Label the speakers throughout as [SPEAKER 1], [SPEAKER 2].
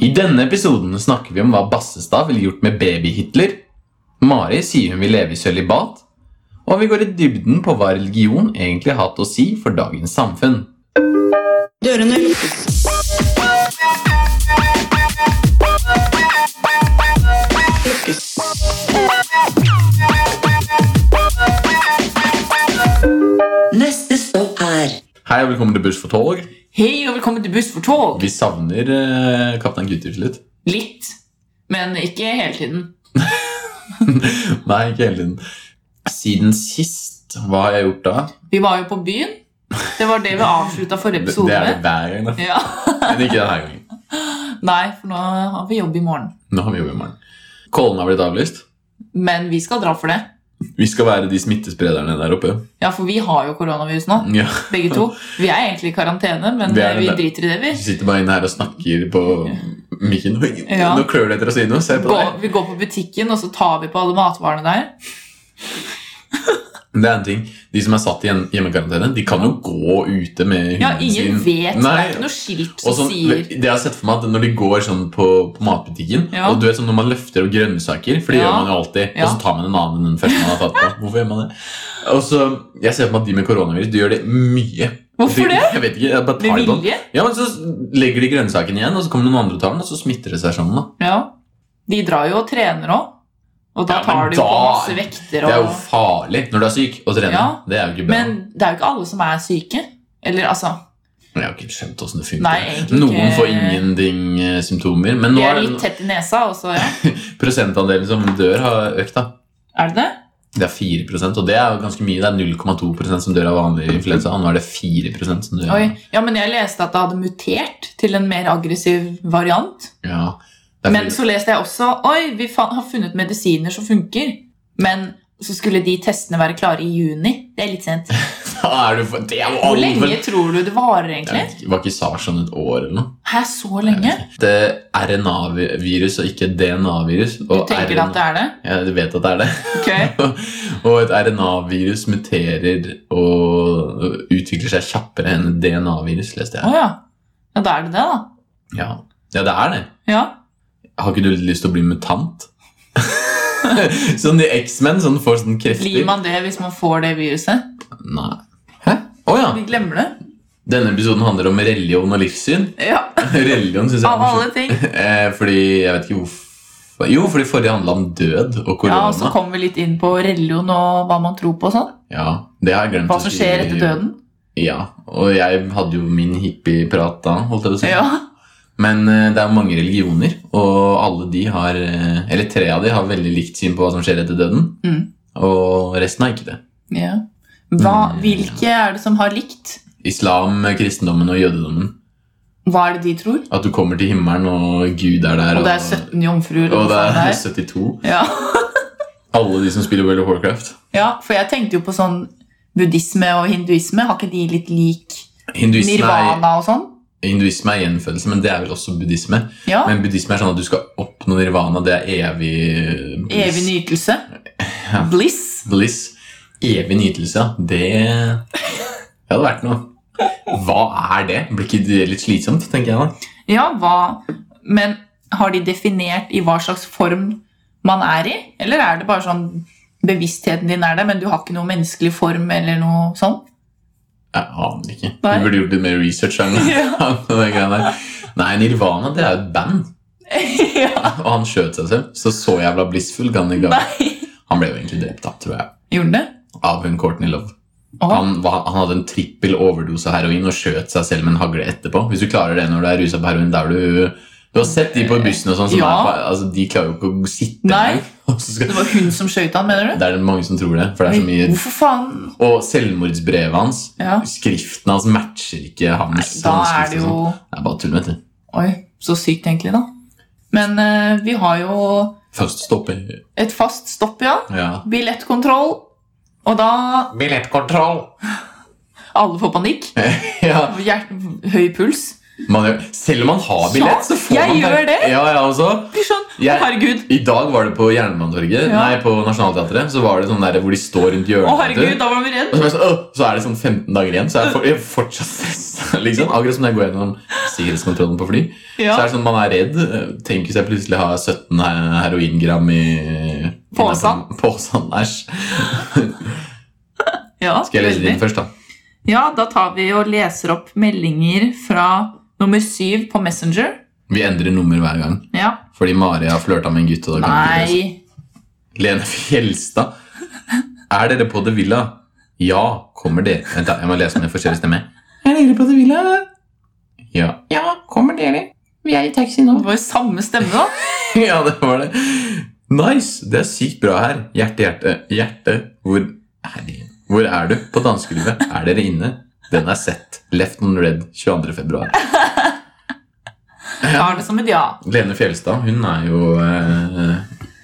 [SPEAKER 1] I denne episoden snakker vi om hva Bassestad ville gjort med baby-Hitler. Mari sier hun vil leve i sølibat. Og vi går i dybden på hva religion egentlig har hatt å si for dagens samfunn.
[SPEAKER 2] Dørene lukkes. Lukkes. Neste stopp er
[SPEAKER 1] Hei og velkommen til Buss for tog.
[SPEAKER 3] Hei og velkommen til Buss for tog!
[SPEAKER 1] Vi savner eh, Kaptein Gutter til slutt.
[SPEAKER 3] Litt, men ikke hele tiden.
[SPEAKER 1] Nei, ikke hele tiden. Siden sist, hva har jeg gjort da?
[SPEAKER 3] Vi var jo på byen. Det var det vi avslutta forrige
[SPEAKER 1] Det,
[SPEAKER 3] episode
[SPEAKER 1] det er det
[SPEAKER 3] med.
[SPEAKER 1] hver gang, da.
[SPEAKER 3] Ja.
[SPEAKER 1] Men ikke denne gangen.
[SPEAKER 3] Nei, for nå har vi jobb i morgen.
[SPEAKER 1] Nå har vi jobb i morgen. Kollen har blitt avlyst.
[SPEAKER 3] Men vi skal dra for det.
[SPEAKER 1] Vi skal være de smittesprederne der oppe.
[SPEAKER 3] Ja, for vi har jo koronavirus nå,
[SPEAKER 1] Ja,
[SPEAKER 3] begge to. Vi er egentlig i karantene, men
[SPEAKER 1] Vi
[SPEAKER 3] vi,
[SPEAKER 1] er det.
[SPEAKER 3] driter i det, vi.
[SPEAKER 1] Vi sitter bare inne her og snakker på mikken. Oi,
[SPEAKER 3] Ja.
[SPEAKER 1] Nå klør det etter å si noe. Se på
[SPEAKER 3] Gå, vi går på butikken, og så tar vi på alle matvarene der.
[SPEAKER 1] deg. Det er en ting. De som er satt i en hjemmekarantene, de kan jo gå ute med hunden
[SPEAKER 3] Ja, ingen vet. Det
[SPEAKER 1] Nei,
[SPEAKER 3] er ikke noe skilt
[SPEAKER 1] og
[SPEAKER 3] som
[SPEAKER 1] sånn,
[SPEAKER 3] sier
[SPEAKER 1] det jeg har sett for meg at Når de går sånn på, på matbutikken
[SPEAKER 3] Ja.
[SPEAKER 1] Og du vet sånn Når man løfter opp grønnsaker, for det
[SPEAKER 3] Ja.
[SPEAKER 1] gjør man jo alltid,
[SPEAKER 3] Ja.
[SPEAKER 1] og så tar man en annen enn den første man har tatt på. Hvorfor gjør man det? Og så, Jeg ser for meg at de med koronavirus De gjør det mye.
[SPEAKER 3] Hvorfor
[SPEAKER 1] de,
[SPEAKER 3] det?
[SPEAKER 1] Jeg vet ikke, jeg bare tar
[SPEAKER 3] Med
[SPEAKER 1] det på.
[SPEAKER 3] vilje?
[SPEAKER 1] Ja, men Så legger de grønnsaken igjen, og så kommer noen andre og tar den, og så smitter det seg sånn. da
[SPEAKER 3] Ja. De drar jo og trener òg. Og
[SPEAKER 1] Ja,
[SPEAKER 3] da
[SPEAKER 1] men
[SPEAKER 3] tar de jo på
[SPEAKER 1] da-
[SPEAKER 3] masse vekter. Og...
[SPEAKER 1] Det er jo farlig når du er syk og trener.
[SPEAKER 3] Ja,
[SPEAKER 1] Det er jo ikke bra.
[SPEAKER 3] Men det er jo ikke alle som er syke. Eller altså
[SPEAKER 1] jeg har ikke skjønt hvordan det funker.
[SPEAKER 3] Nei, egentlig
[SPEAKER 1] Noen
[SPEAKER 3] ikke.
[SPEAKER 1] får ingenting eh, symptomer, men
[SPEAKER 3] De
[SPEAKER 1] nå
[SPEAKER 3] er
[SPEAKER 1] er
[SPEAKER 3] litt
[SPEAKER 1] det
[SPEAKER 3] tett i nesa, og så ja.
[SPEAKER 1] prosentandelen som dør, har økt. da.
[SPEAKER 3] Er det det?
[SPEAKER 1] Det er 4 og det er jo ganske mye. Det er 0,2 som dør av vanlig influensa. Nå er det 4 som dør. av-
[SPEAKER 3] Oi. Ja, men jeg leste at det hadde mutert til en mer aggressiv variant.
[SPEAKER 1] Ja. Det er
[SPEAKER 3] Men
[SPEAKER 1] fordi-
[SPEAKER 3] så leste jeg også Oi, vi fa har funnet medisiner som funker. Men så skulle de testene være klare i juni. Det er litt sent.
[SPEAKER 1] Da er du for... Det er jo
[SPEAKER 3] Hvor
[SPEAKER 1] alt for-
[SPEAKER 3] lenge tror du det varer, egentlig?
[SPEAKER 1] Jeg vet ikke, Var ikke SARS sånn et år eller noe?
[SPEAKER 3] Hæ, så lenge?
[SPEAKER 1] Det er RNA-virus og ikke DNA-virus.
[SPEAKER 3] Du tenker at det er det?
[SPEAKER 1] Jeg vet at det er det.
[SPEAKER 3] Ok.
[SPEAKER 1] og et RNA-virus muterer og utvikler seg kjappere enn et DNA-virus, leste
[SPEAKER 3] Å
[SPEAKER 1] jeg.
[SPEAKER 3] ja. Ja, da er det det, da.
[SPEAKER 1] Ja. ja, det er det.
[SPEAKER 3] Ja.
[SPEAKER 1] Har ikke du lyst til å bli mutant? sånn i X-Men, sånn får sånn
[SPEAKER 3] Blir
[SPEAKER 1] krefter.
[SPEAKER 3] man det hvis man får det viruset?
[SPEAKER 1] Nei. Hæ? Å ja!
[SPEAKER 3] Vi glemmer det.
[SPEAKER 1] Denne episoden handler om religion og livssyn.
[SPEAKER 3] Ja,
[SPEAKER 1] religion synes jeg er
[SPEAKER 3] Av alle
[SPEAKER 1] morsomt.
[SPEAKER 3] ting.
[SPEAKER 1] Eh, Fordi jeg vet ikke hvorfor Jo, fordi forrige handla om død og
[SPEAKER 3] Ja, og så
[SPEAKER 1] korona.
[SPEAKER 3] kommer vi litt inn på religion og hva man tror på og sånn.
[SPEAKER 1] Ja, det har jeg glemt
[SPEAKER 3] Hva
[SPEAKER 1] å
[SPEAKER 3] som
[SPEAKER 1] si.
[SPEAKER 3] skjer etter døden.
[SPEAKER 1] Ja, og jeg hadde jo min hippieprat da, holdt jeg på å si.
[SPEAKER 3] Ja.
[SPEAKER 1] Men eh, det er mange religioner, og alle de har eh, Eller tre av de har veldig likt syn på hva som skjer etter døden.
[SPEAKER 3] Mm.
[SPEAKER 1] Og resten har ikke det.
[SPEAKER 3] ja. Hva,
[SPEAKER 1] Mm.
[SPEAKER 3] hvilke er det som har likt?
[SPEAKER 1] Islam, eh, kristendommen og jødedommen.
[SPEAKER 3] Hva er det de tror?
[SPEAKER 1] At du kommer til himmelen, og Gud er der.
[SPEAKER 3] Og det er 17
[SPEAKER 1] og
[SPEAKER 3] jomfruer. eller
[SPEAKER 1] det
[SPEAKER 3] hva
[SPEAKER 1] er
[SPEAKER 3] faen det er.
[SPEAKER 1] 72.
[SPEAKER 3] Ja.
[SPEAKER 1] Alle de som spiller World of Warcraft.
[SPEAKER 3] ja, for jeg tenkte jo på sånn buddhisme og hinduisme. Har ikke de litt lik
[SPEAKER 1] Hinduisme er,
[SPEAKER 3] nirvana og sånn?
[SPEAKER 1] hinduisme er gjenfødelse, men det er vel også buddhisme.
[SPEAKER 3] Ja.
[SPEAKER 1] Men buddhisme er sånn at du skal oppnå nirvana. Det er evig
[SPEAKER 3] Evig nytelse.
[SPEAKER 1] Ja.
[SPEAKER 3] Bliss.
[SPEAKER 1] Bliss. Evig nytelse, ja. Det Det hadde vært noe. Hva er det? Blir ikke det litt slitsomt, tenker jeg da?
[SPEAKER 3] Ja, hva Men har de definert i hva slags form man er i? Eller er det bare sånn bevisstheten din er der, men du har ikke noe menneskelig form eller noe sånn?
[SPEAKER 1] Jeg aner ikke. Vi
[SPEAKER 3] Nei.
[SPEAKER 1] burde gjort litt mer research. her nå.
[SPEAKER 3] Ja.
[SPEAKER 1] På den greia der. Nei, Nirvana det er jo et band,
[SPEAKER 3] ja.
[SPEAKER 1] og han skjøt seg selv. Så så jævla blissfull kan det ikke være.
[SPEAKER 3] Nei.
[SPEAKER 1] Han ble jo egentlig drept, da, tror jeg.
[SPEAKER 3] Gjorde den det?
[SPEAKER 1] Av hun Courtney Love.
[SPEAKER 3] Åh.
[SPEAKER 1] Han, var, han hadde en trippel overdose heroin og skjøt seg selv med en hagle etterpå. Hvis du klarer det når du er rusa på heroin, da er du Du har sett de på bussen og sånn, som
[SPEAKER 3] Ja.
[SPEAKER 1] er på- altså, de klarer jo ikke å sitte
[SPEAKER 3] Nei.
[SPEAKER 1] engang. Og så skal-
[SPEAKER 3] Det var hun som skøyt han, mener du?
[SPEAKER 1] Det er det mange som tror det. for det er så mye...
[SPEAKER 3] Hvorfor faen?
[SPEAKER 1] Og selvmordsbrevet hans,
[SPEAKER 3] Ja.
[SPEAKER 1] skriften hans, matcher ikke hans.
[SPEAKER 3] Da er
[SPEAKER 1] håndskrift
[SPEAKER 3] det
[SPEAKER 1] og sånn.
[SPEAKER 3] jo
[SPEAKER 1] Det er bare tull, vet du.
[SPEAKER 3] Oi, så sykt, egentlig, da. Men eh, vi har jo
[SPEAKER 1] Først stopper
[SPEAKER 3] et fast stopp, ja.
[SPEAKER 1] ja.
[SPEAKER 3] Billettkontroll. Og da
[SPEAKER 1] Billettkontroll!
[SPEAKER 3] Alle får panikk.
[SPEAKER 1] ja.
[SPEAKER 3] Hjert høy puls.
[SPEAKER 1] Man gjør, selv om man har billett, så får
[SPEAKER 3] Jeg
[SPEAKER 1] man
[SPEAKER 3] gjør det.
[SPEAKER 1] Ja, ja, altså.
[SPEAKER 3] Blir sånn, å,
[SPEAKER 1] Jeg-
[SPEAKER 3] herregud,
[SPEAKER 1] I dag var det på Jernbanetorget,
[SPEAKER 3] Ja.
[SPEAKER 1] nei, på Nationaltheatret. Så var det sånn der hvor de står rundt
[SPEAKER 3] å,
[SPEAKER 1] hjørnet.
[SPEAKER 3] herregud, da var vi redd.
[SPEAKER 1] Og så, er jeg sånn, «Åh», så er det sånn 15 dager igjen, så er jeg, for, jeg er fortsatt stressa. Liksom. Akkurat som når jeg går gjennom sikkerhetskontrollen på fly.
[SPEAKER 3] Ja.
[SPEAKER 1] Så er det sånn, Man er redd. Tenk hvis jeg plutselig har 17 he- heroingram i
[SPEAKER 3] Påsen.
[SPEAKER 1] innenfor- Påsen, æsj.
[SPEAKER 3] Ja,
[SPEAKER 1] Skal jeg lese
[SPEAKER 3] veldig.
[SPEAKER 1] din først, da?
[SPEAKER 3] Ja, da tar vi og leser opp meldinger fra nummer syv på Messenger.
[SPEAKER 1] Vi endrer nummer hver gang.
[SPEAKER 3] Ja.
[SPEAKER 1] Fordi Mari har flørta med en gutt. Og da kan vi ikke lese.
[SPEAKER 3] Nei.
[SPEAKER 1] Lene Fjelstad. Er dere på The Villa? Ja, kommer dere Vent, da. Jeg må lese med forskjellig stemme. Er dere på The Villa? Ja. Ja, kommer dere? Vi er i taxi nå.
[SPEAKER 3] Det var jo samme stemme, da.
[SPEAKER 1] Ja, det var det. Nice! Det er sykt bra her. Hjerte, hjerte, hjerte. Hvor er, de? Hvor er du på dansegulvet? Er dere inne? Den er sett. Left on red 22. februar.
[SPEAKER 3] Jeg har det som et ja.
[SPEAKER 1] Lene Fjelstad, hun er jo eh,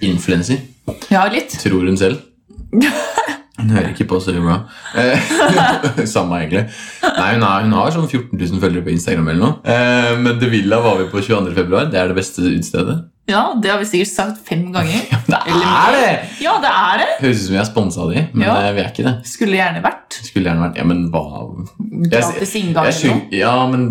[SPEAKER 1] influenser.
[SPEAKER 3] Ja, litt.
[SPEAKER 1] Tror hun selv. Hun hører ikke på, så hun bra. Eh, Samme, egentlig. Nei, hun, har- hun har sånn 14 000 følgere på Instagram eller noe. Eh, men The Villa var vi på 22. februar. Det er det beste utstedet.
[SPEAKER 3] Ja, Det har vi sikkert sagt fem ganger.
[SPEAKER 1] Det
[SPEAKER 3] Eller-
[SPEAKER 1] er det!
[SPEAKER 3] Ja, det er det.
[SPEAKER 1] Høres ut som vi er sponsa av de, men
[SPEAKER 3] Ja.
[SPEAKER 1] eh, vi er ikke det.
[SPEAKER 3] Skulle gjerne vært.
[SPEAKER 1] Skulle gjerne vært Ja, men hva
[SPEAKER 3] Gratis inngang
[SPEAKER 1] jeg,
[SPEAKER 3] eller
[SPEAKER 1] skjøn-
[SPEAKER 3] noe.
[SPEAKER 1] Ja, men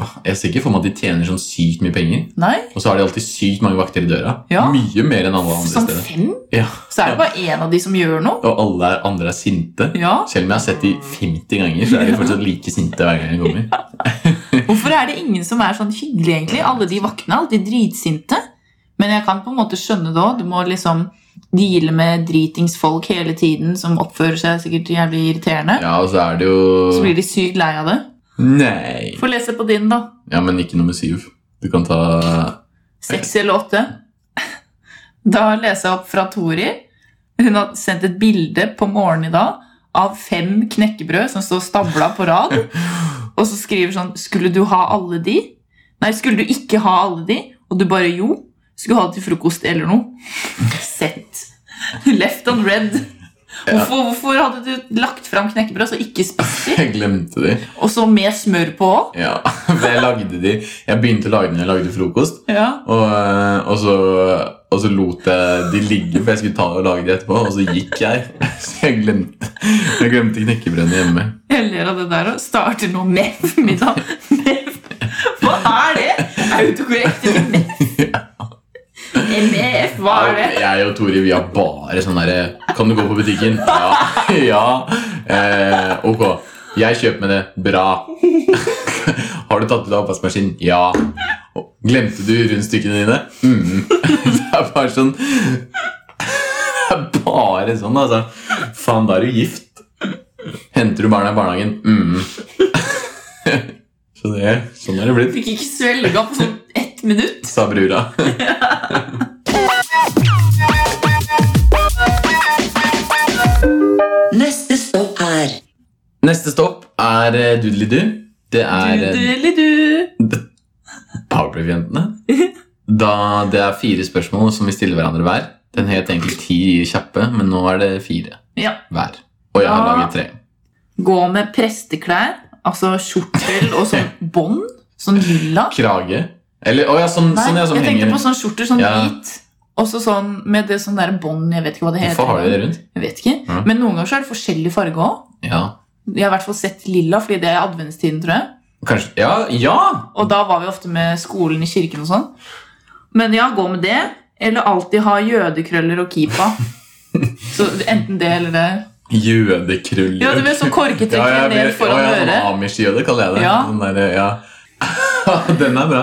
[SPEAKER 1] hva- jeg ser ikke for meg at de tjener sånn sykt mye penger.
[SPEAKER 3] Nei,
[SPEAKER 1] Og så har de alltid sykt mange vakter i døra.
[SPEAKER 3] Ja.
[SPEAKER 1] Mye mer enn alle andre
[SPEAKER 3] som
[SPEAKER 1] steder.
[SPEAKER 3] fem?
[SPEAKER 1] Ja.
[SPEAKER 3] Så er det bare én av de som gjør noe.
[SPEAKER 1] Og alle er, andre er sinte.
[SPEAKER 3] Ja,
[SPEAKER 1] Selv om jeg har sett de 50 ganger, så er de fortsatt like sinte hver gang jeg kommer.
[SPEAKER 3] Hvorfor er det ingen som er sånn hyggelig, egentlig? Alle de vaktene er alltid dritsinte. Men jeg kan på en måte skjønne det òg. Du må liksom deale med dritings folk hele tiden som oppfører seg sikkert jævlig irriterende.
[SPEAKER 1] Ja, og så er det
[SPEAKER 3] Så
[SPEAKER 1] jo
[SPEAKER 3] blir de sykt lei av det.
[SPEAKER 1] Nei.
[SPEAKER 3] Få lese på din, da.
[SPEAKER 1] Ja, men ikke nummer syv. Du kan ta
[SPEAKER 3] Seks eller åtte. Da leser jeg opp fra Tori. Hun har sendt et bilde på morgenen i dag av fem knekkebrød som står stabla på rad. Og så skriver sånn Skulle du ha alle de? Nei, skulle du ikke ha alle de? Og du bare jo. Skulle ha det til frokost eller noe. Sett. Left on red. Hvorfor, hvorfor hadde du lagt fram knekkebrød så ikke spist de?
[SPEAKER 1] Jeg glemte de.
[SPEAKER 3] Og så med smør på òg?
[SPEAKER 1] Ja, for jeg lagde de Jeg begynte å lage dem når jeg lagde frokost.
[SPEAKER 3] Ja.
[SPEAKER 1] Og, eh, og, så, og så lot jeg de ligge, for jeg skulle ta og lage de etterpå. Og så gikk jeg. Så jeg glemte, jeg glemte knekkebrødene hjemme.
[SPEAKER 3] Jeg ler av det der og starter nå med middag. Med- Hva er det? Autokorrekt eller MEF? MEF, E hva er det?
[SPEAKER 1] Jeg og Tori vi har bare sånn derre Kan du gå på butikken? Ja. ja. Eh, ok. Jeg kjøper med det. Bra. Har du tatt ut av oppvaskmaskinen? Ja. Glemte du rundstykkene dine? Mm. Det er bare sånn Det er bare sånn, altså. Faen, da er du gift. Henter du barna i barnehagen? Mm. Så det, sånn er det blitt,
[SPEAKER 3] Fikk ikke svelga på sånn ett minutt.
[SPEAKER 1] sa brura.
[SPEAKER 2] Neste stopp er
[SPEAKER 1] Neste stopp er eh, Doodly-Doo. Det er eh,
[SPEAKER 3] Du-du-li-du.
[SPEAKER 1] Powerplay-jentene. Da det er fire spørsmål som vi stiller hverandre hver. Den het egentlig ti kjappe, men nå er det fire
[SPEAKER 3] Ja.
[SPEAKER 1] hver. Og jeg har
[SPEAKER 3] Ja.
[SPEAKER 1] laget tre.
[SPEAKER 3] Gå med presteklær, altså skjortel og sånn bånd. Sånn lilla.
[SPEAKER 1] Krage Eller å ja, sånn,
[SPEAKER 3] Nei,
[SPEAKER 1] sånn ja, som
[SPEAKER 3] jeg tenkte
[SPEAKER 1] henger
[SPEAKER 3] på sånn skjorter, sånn
[SPEAKER 1] Ja.
[SPEAKER 3] hvit. Og så sånn med det sånn der bånd, jeg vet ikke hva det heter.
[SPEAKER 1] Hvorfor har de det rundt?
[SPEAKER 3] Jeg vet ikke.
[SPEAKER 1] Ja.
[SPEAKER 3] Men noen ganger så er det forskjellig farge òg.
[SPEAKER 1] Ja,
[SPEAKER 3] Jeg har i hvert fall sett lilla, fordi det er adventstiden, tror jeg.
[SPEAKER 1] kanskje Ja! ja.
[SPEAKER 3] Og da var vi ofte med skolen i kirken og sånn. Men ja, gå med det, eller alltid ha jødekrøller og kipa. Så enten det eller det.
[SPEAKER 1] Jødekrøller.
[SPEAKER 3] Ja, du vet, sånn
[SPEAKER 1] jeg
[SPEAKER 3] korketrekker ned
[SPEAKER 1] vet- å,
[SPEAKER 3] foran
[SPEAKER 1] ja, sånn
[SPEAKER 3] øret.
[SPEAKER 1] Amish-jøde kaller jeg det.
[SPEAKER 3] Ja.
[SPEAKER 1] Den, der, ja. Den er bra.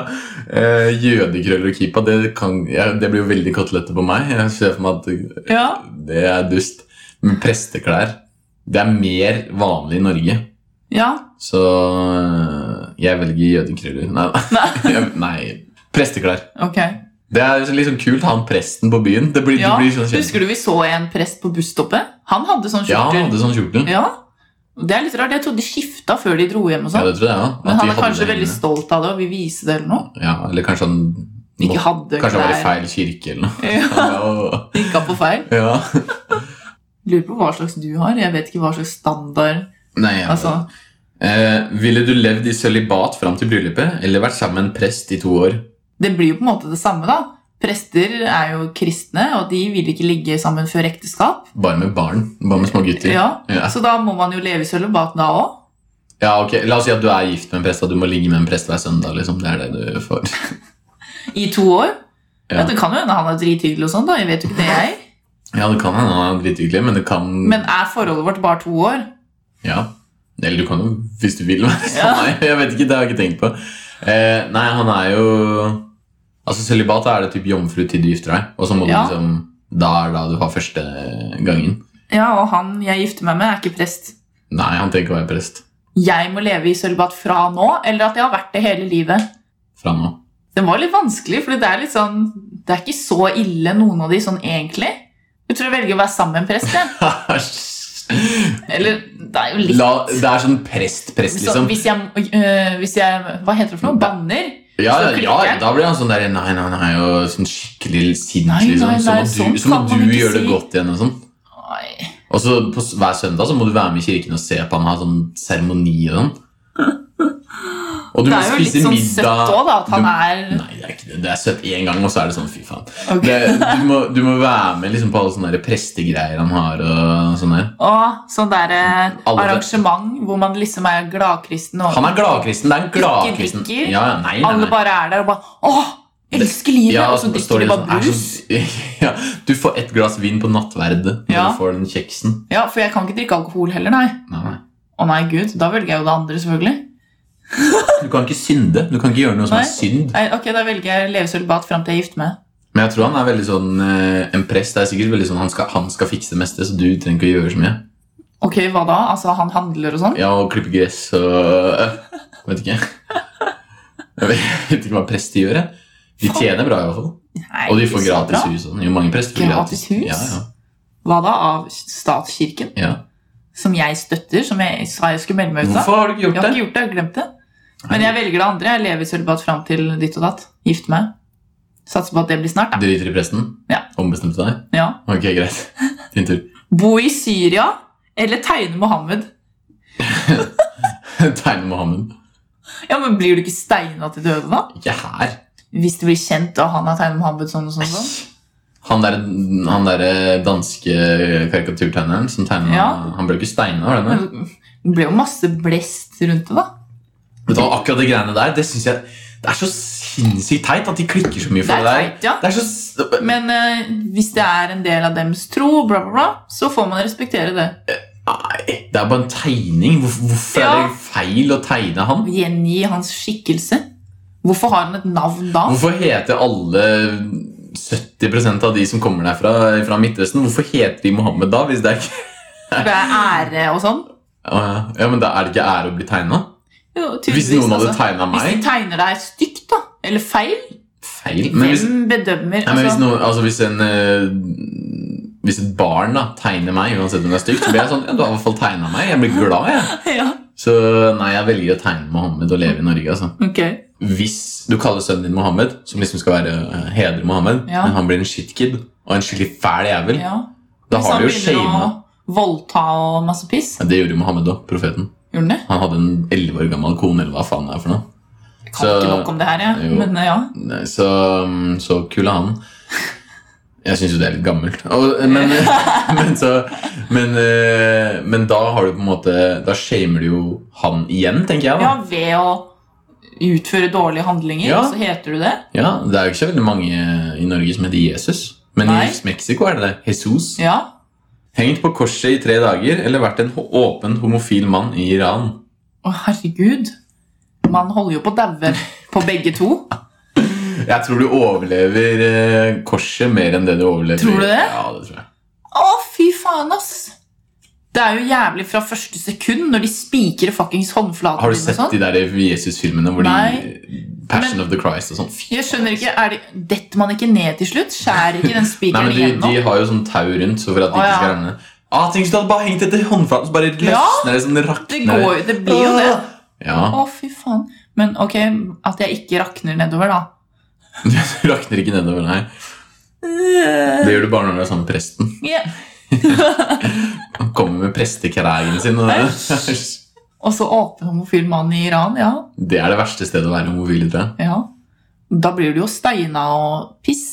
[SPEAKER 1] Eh, jødekrøller og kippa, det, kan, ja, det blir jo veldig kotelette på meg. Jeg ser for meg at
[SPEAKER 3] Ja,
[SPEAKER 1] Det er dust. Men presteklær Det er mer vanlig i Norge.
[SPEAKER 3] ja.
[SPEAKER 1] Så øh, jeg velger jødekrøller. Nei,
[SPEAKER 3] Nei.
[SPEAKER 1] jeg- nei. Presteklær.
[SPEAKER 3] Ok.
[SPEAKER 1] Det er litt sånn kult, han presten på byen. Det blir,
[SPEAKER 3] Ja.
[SPEAKER 1] du blir sånn kjent.
[SPEAKER 3] Husker du vi så en prest på busstoppet? Han hadde sånn
[SPEAKER 1] Ja, han
[SPEAKER 3] skjorter.
[SPEAKER 1] hadde sånn kjortel.
[SPEAKER 3] Ja. Det er litt rart. Jeg trodde de skifta før de dro hjem og
[SPEAKER 1] Ja,
[SPEAKER 3] sånn.
[SPEAKER 1] det tror jeg òg.
[SPEAKER 3] Men han er kanskje veldig stolt av det og vil vise det eller noe.
[SPEAKER 1] Ja, eller kanskje han
[SPEAKER 3] Ikke hadde
[SPEAKER 1] Kanskje han var i
[SPEAKER 3] klær.
[SPEAKER 1] feil kirke eller noe.
[SPEAKER 3] Ja,
[SPEAKER 1] Ja.
[SPEAKER 3] Ikke på feil.
[SPEAKER 1] ja.
[SPEAKER 3] Lurer på hva slags du har. Jeg vet ikke hva slags standard
[SPEAKER 1] Nei, jeg,
[SPEAKER 3] Altså,
[SPEAKER 1] Eh, ville du levd i sølibat fram til bryllupet eller vært sammen med en prest i to år?
[SPEAKER 3] Det blir jo på en måte det samme, da. Prester er jo kristne, og de vil ikke ligge sammen før ekteskap.
[SPEAKER 1] Bare med barn. Bare med små gutter.
[SPEAKER 3] Ja,
[SPEAKER 1] Ja.
[SPEAKER 3] Så da må man jo leve i sølibat da òg.
[SPEAKER 1] Ja, ok. La oss si at du er gift med en prest, og du må ligge med en prest hver søndag. liksom. Det er det du får.
[SPEAKER 3] I to år.
[SPEAKER 1] Ja.
[SPEAKER 3] Ja. Det kan jo hende han er drithyggelig, og sånn da, jeg vet jo ikke det jeg.
[SPEAKER 1] Ja, det kan hende han er drithyggelig, men det kan
[SPEAKER 3] Men er forholdet vårt bare to år?
[SPEAKER 1] Ja. Eller du kan jo, hvis du vil. være sammen med meg. Jeg vet ikke, det har jeg ikke tenkt på. Eh, nei, han er jo Altså, Sølibat er det typ jomfru til du gifter deg, og så må
[SPEAKER 3] Ja.
[SPEAKER 1] du liksom Da er da du har første gangen.
[SPEAKER 3] Ja, og han jeg gifter meg med, er ikke prest.
[SPEAKER 1] Nei, han tenker å være prest
[SPEAKER 3] Jeg må leve i sølibat fra nå, eller at jeg har vært det hele livet.
[SPEAKER 1] fra nå.
[SPEAKER 3] Den var litt vanskelig, for det er litt sånn Det er ikke så ille, noen av de, sånn egentlig. Jeg tror jeg velger å være sammen med en prest, jeg. Eller det er jo litt
[SPEAKER 1] La, det er sånn prest-prest,
[SPEAKER 3] så,
[SPEAKER 1] liksom.
[SPEAKER 3] hvis, jeg, øh, hvis jeg Hva heter det for noe? Banner?
[SPEAKER 1] Ja,
[SPEAKER 3] så klikker
[SPEAKER 1] ja,
[SPEAKER 3] jeg.
[SPEAKER 1] da blir han sånn der Nei, nei, nei, og sånn skikkelig sint,
[SPEAKER 3] Nei, nei,
[SPEAKER 1] liksom. Så
[SPEAKER 3] nei,
[SPEAKER 1] må
[SPEAKER 3] sånn
[SPEAKER 1] du, så må
[SPEAKER 3] kan man
[SPEAKER 1] du
[SPEAKER 3] ikke
[SPEAKER 1] gjøre det
[SPEAKER 3] si.
[SPEAKER 1] godt igjen og sånn.
[SPEAKER 3] Nei.
[SPEAKER 1] Og så på s- hver søndag så må du være med i kirken og se på han ha sånn seremoni og sånn. Og du
[SPEAKER 3] Det
[SPEAKER 1] må
[SPEAKER 3] er jo litt
[SPEAKER 1] spise
[SPEAKER 3] sånn søtt
[SPEAKER 1] middag
[SPEAKER 3] òg, da, at han
[SPEAKER 1] du,
[SPEAKER 3] er
[SPEAKER 1] Nei, det er ikke det. Det er søtt én gang, og så er det sånn fy faen.
[SPEAKER 3] Ok.
[SPEAKER 1] Det, du, må, du må være med liksom, på alle sånne der prestegreier han har og sånn der.
[SPEAKER 3] Og sånn der eh,
[SPEAKER 1] Alle-
[SPEAKER 3] arrangement hvor man liksom er gladkristen og
[SPEAKER 1] Han er gladkristen. Det er en gladkristen.
[SPEAKER 3] drikker.
[SPEAKER 1] Ja, ja, nei, nei,
[SPEAKER 3] alle
[SPEAKER 1] nei.
[SPEAKER 3] bare er der og bare Åh, elsker livet!
[SPEAKER 1] Ja,
[SPEAKER 3] og så
[SPEAKER 1] står
[SPEAKER 3] drikker de
[SPEAKER 1] det
[SPEAKER 3] bare
[SPEAKER 1] sånn, er
[SPEAKER 3] brus.
[SPEAKER 1] så- ja, du får ett glass vin på nattverd når
[SPEAKER 3] Ja.
[SPEAKER 1] du får den kjeksen.
[SPEAKER 3] Ja, for jeg kan ikke drikke alkohol heller, nei.
[SPEAKER 1] Nei, nei.
[SPEAKER 3] Å nei, gud, da velger jeg jo det andre, selvfølgelig.
[SPEAKER 1] Du kan ikke synde. Du kan ikke gjøre noe som
[SPEAKER 3] Nei.
[SPEAKER 1] er synd.
[SPEAKER 3] Nei, ok, da velger jeg leve sølibat fram til jeg er gift med.
[SPEAKER 1] Men jeg tror han er veldig sånn eh, En prest er sikkert veldig sånn han skal, han skal fikse det meste, så du trenger ikke å gjøre så mye.
[SPEAKER 3] Ok, hva da? Altså, han handler og sånn?
[SPEAKER 1] Ja, og klippe gress og øh, Vet ikke. Jeg vet ikke hva prester gjør. jeg. De tjener bra, i hvert fall.
[SPEAKER 3] Nei,
[SPEAKER 1] Og de
[SPEAKER 3] ikke
[SPEAKER 1] får
[SPEAKER 3] så
[SPEAKER 1] gratis
[SPEAKER 3] bra.
[SPEAKER 1] hus. og sånn. Jo, mange prester får gratis,
[SPEAKER 3] Gratis hus?
[SPEAKER 1] Ja, ja.
[SPEAKER 3] Hva da av statskirken?
[SPEAKER 1] Ja.
[SPEAKER 3] Som jeg støtter, som jeg sa jeg skulle melde meg ut av?
[SPEAKER 1] Hvorfor har du ikke
[SPEAKER 3] Jeg
[SPEAKER 1] gjort
[SPEAKER 3] har
[SPEAKER 1] det?
[SPEAKER 3] ikke gjort det, jeg har glemt det. Men jeg velger det andre. Jeg lever i sølibat fram til ditt og datt. Gift meg. Satser på at det blir snart, da.
[SPEAKER 1] Driter i presten?
[SPEAKER 3] Ja.
[SPEAKER 1] Ombestemte deg?
[SPEAKER 3] Ja.
[SPEAKER 1] Ok, greit. Din tur.
[SPEAKER 3] Bo i Syria eller tegne Mohammed?
[SPEAKER 1] Tegne Mohammed.
[SPEAKER 3] Ja, men Blir du ikke steina til døde, da?
[SPEAKER 1] Ikke her.
[SPEAKER 3] Hvis det blir kjent og han har tegnet Mohammed sånn og sånn? og sånn.
[SPEAKER 1] Han der, han der eh, danske eh, karikaturtegneren som tegna
[SPEAKER 3] Ja. Mm.
[SPEAKER 1] Han ble ikke steina, var det det?
[SPEAKER 3] Men Det ble jo masse blest rundt det, da.
[SPEAKER 1] Vet du hva, Akkurat de greiene der, det synes jeg Det er så sinnssykt teit at de klikker så mye for
[SPEAKER 3] Det
[SPEAKER 1] det,
[SPEAKER 3] er
[SPEAKER 1] der.
[SPEAKER 3] teit, ja.
[SPEAKER 1] Det er så s-
[SPEAKER 3] Men eh, hvis det er en del av dems tro, bla, bla, bla, så får man respektere det.
[SPEAKER 1] Nei, eh, det er bare en tegning. Hvorfor, hvorfor
[SPEAKER 3] Ja.
[SPEAKER 1] er det feil å tegne han?
[SPEAKER 3] Gjengi hans skikkelse. Hvorfor har han et navn da?
[SPEAKER 1] Hvorfor heter alle 70 av de som kommer derfra fra Midtøsten, hvorfor heter de Mohammed da? Hvis det er ikke
[SPEAKER 3] For det er ære og sånn.
[SPEAKER 1] Å, Ja, men da er det ikke ære å bli tegna?
[SPEAKER 3] Jo,
[SPEAKER 1] Hvis
[SPEAKER 3] tydeligvis,
[SPEAKER 1] noen hadde
[SPEAKER 3] altså.
[SPEAKER 1] tegna
[SPEAKER 3] Hvis de
[SPEAKER 1] meg
[SPEAKER 3] tegner deg stygt, da, eller feil,
[SPEAKER 1] Feil. Men
[SPEAKER 3] hvem
[SPEAKER 1] hvis, nei,
[SPEAKER 3] bedømmer
[SPEAKER 1] men hvis,
[SPEAKER 3] altså,
[SPEAKER 1] noen, altså hvis, en, eh, hvis et barn da tegner meg, uansett om det er stygt, så blir jeg sånn Ja, du har i hvert fall tegna meg. Jeg blir glad, jeg.
[SPEAKER 3] ja,
[SPEAKER 1] Så nei, jeg velger å tegne Mohammed og leve i Norge, altså.
[SPEAKER 3] ok.
[SPEAKER 1] hvis du kaller sønnen din Mohammed, som liksom skal være eh, hedre Mohammed,
[SPEAKER 3] Ja.
[SPEAKER 1] men han blir en shitkid og en skikkelig fæl jævel,
[SPEAKER 3] Ja.
[SPEAKER 1] da
[SPEAKER 3] Hvis
[SPEAKER 1] har
[SPEAKER 3] han
[SPEAKER 1] du jo
[SPEAKER 3] begynner
[SPEAKER 1] shama.
[SPEAKER 3] å voldta og masse piss.
[SPEAKER 1] Ja, det gjorde jo Mohammed òg, profeten.
[SPEAKER 3] Gjorde han det?
[SPEAKER 1] Han hadde en 11 år gammel kone, eller hva faen det er for noe.
[SPEAKER 3] Jeg kan
[SPEAKER 1] Så-
[SPEAKER 3] ikke nok om det her, jeg.
[SPEAKER 1] Jo.
[SPEAKER 3] Men eh, ja.
[SPEAKER 1] Nei, Så, mm, så kul er han. Jeg syns jo det er litt gammelt. Og, men, men, så, men, eh, men da har du på en måte Da shamer du jo han igjen, tenker jeg.
[SPEAKER 3] ja,
[SPEAKER 1] da.
[SPEAKER 3] ved å utføre dårlige handlinger,
[SPEAKER 1] Ja.
[SPEAKER 3] så heter du det.
[SPEAKER 1] Ja, Det er jo ikke så veldig mange i Norge som heter Jesus. Men
[SPEAKER 3] Nei.
[SPEAKER 1] i Mexico er det det. Jesus.
[SPEAKER 3] Ja.
[SPEAKER 1] Hengt på korset i tre dager eller vært en ho- åpen homofil mann i Iran?
[SPEAKER 3] Å, herregud. Man holder jo på å daue på begge to.
[SPEAKER 1] Jeg tror du overlever eh, korset mer enn det du overlever
[SPEAKER 3] Tror du det?
[SPEAKER 1] Ja, det tror jeg.
[SPEAKER 3] Å, fy faen, ass! Det er jo jævlig fra første sekund når de spikrer fuckings håndflaten
[SPEAKER 1] Har du
[SPEAKER 3] din og
[SPEAKER 1] sett
[SPEAKER 3] sånn.
[SPEAKER 1] de der Jesus-filmene hvor
[SPEAKER 3] Nei.
[SPEAKER 1] de Passion
[SPEAKER 3] Men-
[SPEAKER 1] of the Christ og sånn? Fy
[SPEAKER 3] Jeg skjønner ikke, er det, Detter man ikke ned til slutt? Skjærer ikke den
[SPEAKER 1] Nei,
[SPEAKER 3] spikeren
[SPEAKER 1] men de,
[SPEAKER 3] igjennom?
[SPEAKER 1] de har jo sånn tau rundt så for at de
[SPEAKER 3] Å,
[SPEAKER 1] ikke
[SPEAKER 3] ja.
[SPEAKER 1] skal ramle. Ah, tenk hvis du hadde bare hengt etter håndflaten, så bare løsner
[SPEAKER 3] Ja.
[SPEAKER 1] det som det
[SPEAKER 3] Det,
[SPEAKER 1] rakner.
[SPEAKER 3] går, jo- det blir jo det.
[SPEAKER 1] Ja,
[SPEAKER 3] Å, fy faen. Men ok, at jeg ikke rakner nedover, da.
[SPEAKER 1] Du rakner ikke nedover, nei. Det gjør du bare når du er sammen med presten.
[SPEAKER 3] Ja.
[SPEAKER 1] Han kommer med prestekrægen sin. Og...
[SPEAKER 3] Og så åpen homofil mann i Iran, ja.
[SPEAKER 1] Det er det verste stedet å være homofil, tror jeg.
[SPEAKER 3] ja. Da blir du jo steina og piss.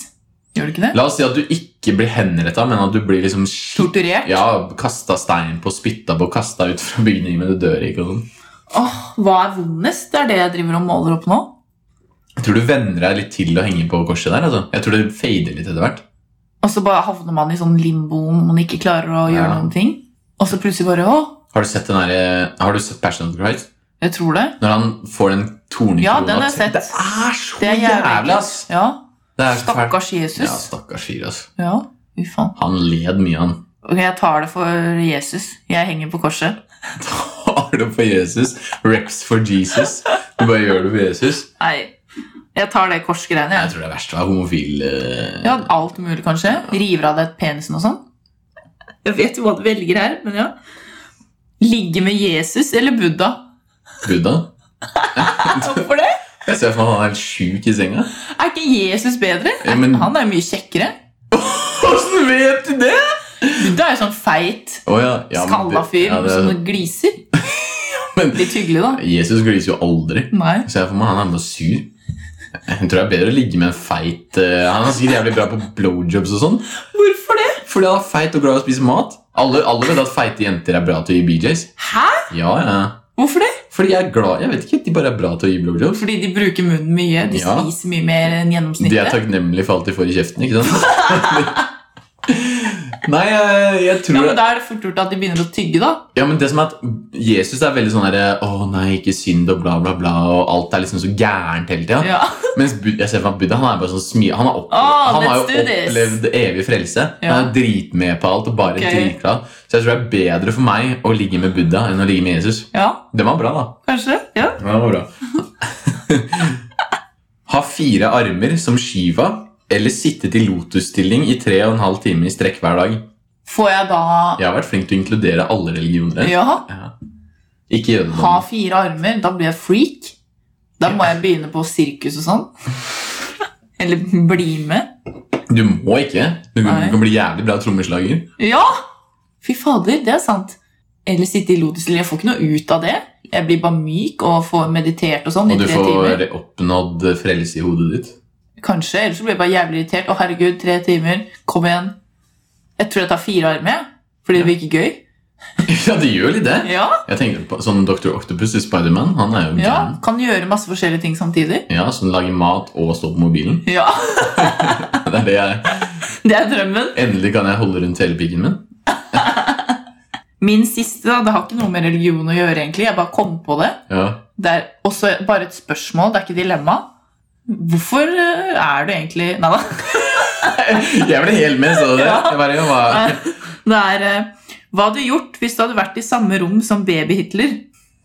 [SPEAKER 3] Gjør du ikke det?
[SPEAKER 1] La oss si at du ikke blir henretta, men at du blir liksom skitt-
[SPEAKER 3] Torturert.
[SPEAKER 1] Ja, kasta stein på, spytta på, kasta ut fra bygning, men du dør ikke. og sånn.
[SPEAKER 3] Åh, hva er vondest? Det er det jeg driver og måler opp nå.
[SPEAKER 1] Jeg tror du venner deg litt til å henge på korset der. altså. Jeg tror det fader litt etter hvert.
[SPEAKER 3] Og så bare havner man i sånn limbo om man ikke klarer å gjøre
[SPEAKER 1] Ja.
[SPEAKER 3] noen ting. Og så plutselig bare Å,
[SPEAKER 1] Har du sett den der, eh, har du sett Passion of the Christ?
[SPEAKER 3] jeg tror det.
[SPEAKER 1] Når han får den tornekrona
[SPEAKER 3] Ja, den har jeg
[SPEAKER 1] til-
[SPEAKER 3] sett.
[SPEAKER 1] Det er så
[SPEAKER 3] Det er jævlig
[SPEAKER 1] jævlig, ass!
[SPEAKER 3] Ja,
[SPEAKER 1] Det er så fælt.
[SPEAKER 3] Stakkars
[SPEAKER 1] Ja,
[SPEAKER 3] Jesus.
[SPEAKER 1] stakkars fyr, ass.
[SPEAKER 3] Ja, fy faen.
[SPEAKER 1] Han led mye, han.
[SPEAKER 3] Ok, Jeg tar det for Jesus. Jeg henger på korset.
[SPEAKER 1] Tar det for Jesus. Rex for Jesus. Du bare gjør det for Jesus.
[SPEAKER 3] Nei, jeg tar det korsgreiene.
[SPEAKER 1] Jeg
[SPEAKER 3] Jeg.
[SPEAKER 1] tror det er verst å være homofil. eh.
[SPEAKER 3] Ja, alt mulig, kanskje. River av deg penisen og sånn. Jeg vet jo hva du velger her, men ja. Ligge med Jesus eller Buddha?
[SPEAKER 1] Buddha.
[SPEAKER 3] Hvorfor det?
[SPEAKER 1] Jeg ser for meg at han er helt sjuk i senga.
[SPEAKER 3] Er ikke Jesus bedre?
[SPEAKER 1] Ja, men-
[SPEAKER 3] Han er jo mye kjekkere.
[SPEAKER 1] Åssen vet du det?!
[SPEAKER 3] Buddha er jo sånn feit,
[SPEAKER 1] Å ja. ja, men
[SPEAKER 3] skalla
[SPEAKER 1] det-
[SPEAKER 3] fyr
[SPEAKER 1] ja, det er-
[SPEAKER 3] som gliser.
[SPEAKER 1] men-
[SPEAKER 3] Litt hyggelig, da.
[SPEAKER 1] Jesus gliser jo aldri.
[SPEAKER 3] Nei.
[SPEAKER 1] Ser jeg for meg, Han er bare sur. Jeg tror det er bedre å ligge med en feit eh, Han er sikkert jævlig bra på blowjobs og sånn.
[SPEAKER 3] Hvorfor det?
[SPEAKER 1] Fordi han er feit og glad i å spise mat. Alle, alle vet at feite jenter er bra til å gi BJs.
[SPEAKER 3] Hæ?
[SPEAKER 1] Ja, ja.
[SPEAKER 3] Hvorfor det?
[SPEAKER 1] Fordi jeg er glad Jeg vet ikke, de bare er bra til å gi blowjobs.
[SPEAKER 3] Fordi de bruker munnen mye. De
[SPEAKER 1] Ja.
[SPEAKER 3] spiser mye mer enn
[SPEAKER 1] De er
[SPEAKER 3] gjennomsnittet.
[SPEAKER 1] takknemlige for alt de får i kjeften, ikke sant? Nei, jeg, jeg
[SPEAKER 3] Ja,
[SPEAKER 1] tror
[SPEAKER 3] men Da er det fort gjort at de begynner å tygge, da.
[SPEAKER 1] Ja, men det som er at Jesus er veldig sånn derre Å nei, ikke synd og bla, bla, bla, og alt er liksom så gærent hele tida.
[SPEAKER 3] Ja.
[SPEAKER 1] Mens Bud- jeg ser for meg Buddha han er bare sånn smi Han har, opple
[SPEAKER 3] Ah,
[SPEAKER 1] han har
[SPEAKER 3] let's
[SPEAKER 1] jo
[SPEAKER 3] do this.
[SPEAKER 1] opplevd evig frelse.
[SPEAKER 3] Ja.
[SPEAKER 1] Han er dritmed på alt og bare
[SPEAKER 3] Ok.
[SPEAKER 1] dritglad. Så jeg tror det er bedre for meg å ligge med Buddha enn å ligge med Jesus.
[SPEAKER 3] ja,
[SPEAKER 1] Det var bra, da.
[SPEAKER 3] kanskje. Ja.
[SPEAKER 1] Ja, det var bra. ha fire armer som Shiva eller sitte til lotusstilling i tre og en halv time i strekk hver dag.
[SPEAKER 3] Får jeg da
[SPEAKER 1] Jeg har vært flink til å inkludere alle religioner.
[SPEAKER 3] ja,
[SPEAKER 1] Ikke jødedommen.
[SPEAKER 3] ha fire armer? Da blir jeg freak. Da må jeg begynne på sirkus og sånn. Eller bli med.
[SPEAKER 1] Du må ikke. Du kan,
[SPEAKER 3] Nei.
[SPEAKER 1] du kan bli jævlig bra trommeslager.
[SPEAKER 3] Ja! Fy fader, det er sant. Eller sitte i lotusliv. Jeg får ikke noe ut av det. Jeg blir bare myk og får meditert og sånn i
[SPEAKER 1] Og du
[SPEAKER 3] tre timer.
[SPEAKER 1] får oppnådd frelse i hodet ditt.
[SPEAKER 3] Kanskje, ellers så blir jeg bare jævlig irritert. Å, herregud, tre timer. Kom igjen. Jeg tror jeg tar fire armer, jeg. Fordi det virker gøy.
[SPEAKER 1] Ja, det gjør litt det.
[SPEAKER 3] Ja,
[SPEAKER 1] Jeg tenkte på sånn Dr. Octopus i Spiderman. Han er jo
[SPEAKER 3] ja.
[SPEAKER 1] gæren.
[SPEAKER 3] Kan gjøre masse forskjellige ting samtidig.
[SPEAKER 1] Ja. som lager mat og står på mobilen.
[SPEAKER 3] Ja,
[SPEAKER 1] Det er det jeg,
[SPEAKER 3] det er drømmen.
[SPEAKER 1] endelig kan jeg holde rundt hele piggen min.
[SPEAKER 3] Min siste, da. Det har ikke noe med religion å gjøre, egentlig. Jeg bare kom på det.
[SPEAKER 1] Ja.
[SPEAKER 3] Det er også bare et spørsmål, det er ikke dilemma. Hvorfor eh, er du egentlig Nei da.
[SPEAKER 1] Jeg ble helt med, så du det?
[SPEAKER 3] Ja.
[SPEAKER 1] Jeg bare, jeg var,
[SPEAKER 3] Det er eh, Hva hadde du gjort hvis du hadde vært i samme rom som baby-Hitler?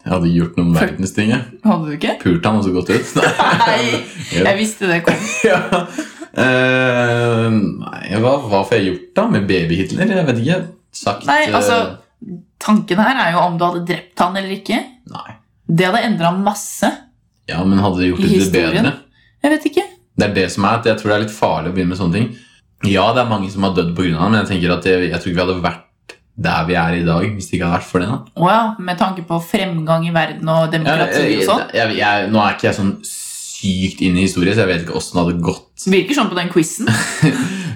[SPEAKER 1] jeg hadde gjort noen verdens ting. jeg.
[SPEAKER 3] Hadde du ikke?
[SPEAKER 1] Pult han og så gått ut.
[SPEAKER 3] Nei, jeg visste det kom.
[SPEAKER 1] Ja. Eh, nei, hva, hva får jeg gjort da med baby-Hitler? Jeg vet ikke. Sagt
[SPEAKER 3] Nei,
[SPEAKER 1] eh,
[SPEAKER 3] altså, tanken her er jo om du hadde drept han eller ikke.
[SPEAKER 1] Nei.
[SPEAKER 3] Det hadde endra masse.
[SPEAKER 1] Ja, men hadde det gjort
[SPEAKER 3] I
[SPEAKER 1] det litt
[SPEAKER 3] historien?
[SPEAKER 1] bedre?
[SPEAKER 3] Jeg vet ikke.
[SPEAKER 1] Det er det som er at jeg tror det er litt farlig å begynne med sånne ting. Ja, det er mange som har dødd pga. han, men jeg tenker at jeg, jeg tror ikke vi hadde vært der vi er i dag hvis det ikke hadde vært for det. da.
[SPEAKER 3] Å ja, med tanke på fremgang i verden og
[SPEAKER 1] Jeg,
[SPEAKER 3] demokrati og
[SPEAKER 1] jeg,
[SPEAKER 3] sånn.
[SPEAKER 1] jeg, jeg, nå er ikke jeg sånn sykt inne i historie, så jeg vet ikke åssen det hadde gått.
[SPEAKER 3] Virker sånn på den quizen.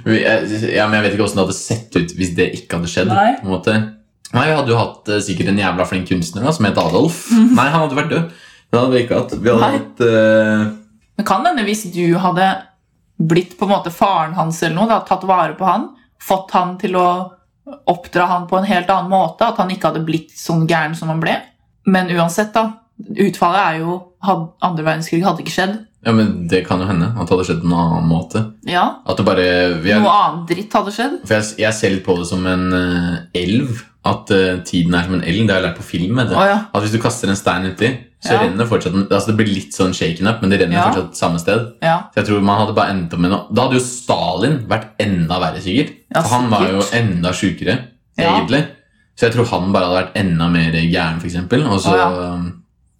[SPEAKER 1] Vi- jeg- Ja, men jeg vet ikke åssen det hadde sett ut hvis det ikke hadde skjedd.
[SPEAKER 3] Nei.
[SPEAKER 1] på en måte. Nei, Vi hadde jo hatt eh, sikkert en jævla flink kunstner da, som het Adolf. Nei, han hadde vært død. Det hadde vi ikke hatt. Vi hadde
[SPEAKER 3] Nei.
[SPEAKER 1] hatt eh,
[SPEAKER 3] Men kan hende hvis du hadde blitt på en måte faren hans eller noe, da, tatt vare på han, fått han til å oppdra han på en helt annen måte, at han ikke hadde blitt sånn gæren som han ble. Men uansett, da. Utfallet er jo had, Andre verdenskrig hadde ikke skjedd.
[SPEAKER 1] Ja, men Det kan jo hende at det hadde skjedd på en annen måte.
[SPEAKER 3] Ja,
[SPEAKER 1] At det bare vi er,
[SPEAKER 3] Noe annet dritt hadde skjedd.
[SPEAKER 1] For jeg, jeg ser litt på det som en eh, elv. At eh, tiden er som en elv. Det har jeg lært på film. vet du.
[SPEAKER 3] Å ja.
[SPEAKER 1] At hvis du kaster en stein uti, så
[SPEAKER 3] Ja.
[SPEAKER 1] renner det fortsatt en- altså Det blir litt sånn shaken up, men det renner
[SPEAKER 3] Ja.
[SPEAKER 1] fortsatt samme sted.
[SPEAKER 3] ja.
[SPEAKER 1] Så jeg tror man hadde bare endt opp med noe Da hadde jo Stalin vært enda verre, sikkert.
[SPEAKER 3] Ja,
[SPEAKER 1] For han var jo
[SPEAKER 3] sikkert.
[SPEAKER 1] enda sjukere,
[SPEAKER 3] Ja.
[SPEAKER 1] egentlig. Så jeg tror han bare hadde vært enda mer gæren, f.eks. Og så um,
[SPEAKER 3] Å, ja.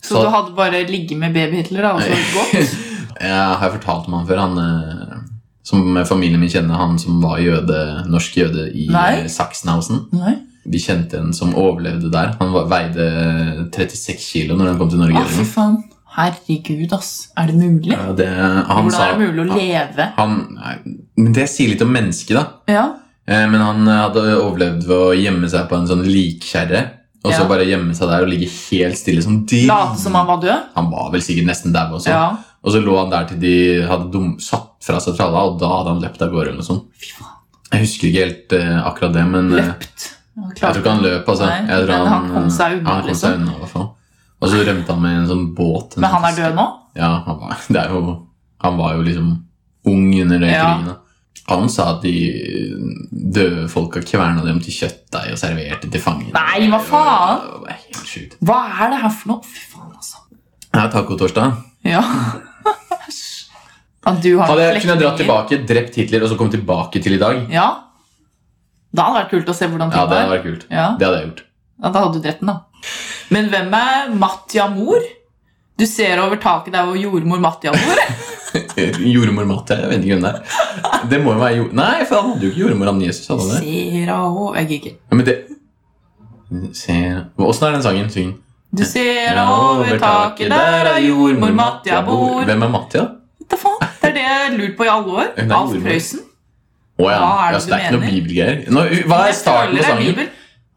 [SPEAKER 3] Så,
[SPEAKER 1] Så-
[SPEAKER 3] du hadde bare ligget med baby-Hitler, da? Og så gått?
[SPEAKER 1] Jeg har fortalt om han før. Han eh, som familien min kjenner, han som var jøde, norsk jøde i
[SPEAKER 3] Nei.
[SPEAKER 1] eh, Sachsenhausen.
[SPEAKER 3] Nei.
[SPEAKER 1] Vi kjente en som overlevde der. Han var, veide 36 kilo når han kom til Norge.
[SPEAKER 3] Å, fy faen. Herregud, ass. Er det mulig?
[SPEAKER 1] Ja, det, han
[SPEAKER 3] Hvordan
[SPEAKER 1] sa,
[SPEAKER 3] er det mulig å leve?
[SPEAKER 1] han, nei, men det sier litt om mennesket, da.
[SPEAKER 3] Ja.
[SPEAKER 1] Eh, Men han eh, hadde overlevd ved å gjemme seg på en sånn likkjerre. Og så
[SPEAKER 3] Ja.
[SPEAKER 1] bare gjemme seg der og ligge helt stille som dyr.
[SPEAKER 3] Late som han var død?
[SPEAKER 1] Han var vel sikkert nesten dau også.
[SPEAKER 3] Ja.
[SPEAKER 1] Og så lå han der til de hadde dum, satt fra seg tralla, og da hadde han løpt av gårde. eller noe sånt.
[SPEAKER 3] Fy faen.
[SPEAKER 1] Jeg husker ikke helt eh, akkurat det, men eh,
[SPEAKER 3] Løpt. Han
[SPEAKER 1] jeg tror
[SPEAKER 3] klarte-
[SPEAKER 1] ikke han løp. altså.
[SPEAKER 3] Nei,
[SPEAKER 1] jeg tror
[SPEAKER 3] men han kom seg
[SPEAKER 1] eh,
[SPEAKER 3] unna,
[SPEAKER 1] Han kom seg
[SPEAKER 3] liksom.
[SPEAKER 1] unna, i hvert fall. Og så rømte han med en sånn båt. en
[SPEAKER 3] Men han
[SPEAKER 1] sånn
[SPEAKER 3] er død nå?
[SPEAKER 1] Ja, han var, det er jo, han var jo liksom ung under den
[SPEAKER 3] Ja.
[SPEAKER 1] krigen. da. Han sa at de døde folka kverna dem til kjøttdeig og serverte til fangene.
[SPEAKER 3] Nei, hva faen?
[SPEAKER 1] Det var helt sjukt.
[SPEAKER 3] Hva er det her for noe? Fy faen, altså.
[SPEAKER 1] Det er tacotorsdag.
[SPEAKER 3] Ja. Æsj. At du har
[SPEAKER 1] Hadde jeg kunnet dratt
[SPEAKER 3] slektninger.
[SPEAKER 1] tilbake, drept Hitler og så kommet tilbake til i dag,
[SPEAKER 3] Ja. Da hadde det vært kult å se hvordan ting
[SPEAKER 1] ja, det hadde
[SPEAKER 3] var.
[SPEAKER 1] vært kult.
[SPEAKER 3] Ja.
[SPEAKER 1] Det hadde jeg gjort.
[SPEAKER 3] ja, Da hadde du drept den, da. Men hvem er Matjamor? Du ser over taket der hvor jordmor Matjamor er.
[SPEAKER 1] Eh, Jordmor Matte, jeg vet ikke hvem det er. Det må jo være jord... Nei, for han hadde jo ikke jordmor han Jesus hadde han det.
[SPEAKER 3] Ser av henne Jeg gidder ikke.
[SPEAKER 1] Ja, men det... Se... Åssen er den sangen? Syng.
[SPEAKER 3] Du ser over taket, der er jordmor Matja bor. Vet
[SPEAKER 1] Hvem er Matja?
[SPEAKER 3] du faen? Det er det jeg har lurt på i alle år.
[SPEAKER 1] Hun er
[SPEAKER 3] Alf
[SPEAKER 1] jordmor.
[SPEAKER 3] Prøysen.
[SPEAKER 1] Å ja.
[SPEAKER 3] Hva
[SPEAKER 1] ja
[SPEAKER 3] er det
[SPEAKER 1] så
[SPEAKER 3] du
[SPEAKER 1] det er ikke noe
[SPEAKER 3] mener?
[SPEAKER 1] bibelgreier. Nå, hva er
[SPEAKER 3] Jeg
[SPEAKER 1] starten
[SPEAKER 3] føler
[SPEAKER 1] på
[SPEAKER 3] det er
[SPEAKER 1] sangen?
[SPEAKER 3] Bibel.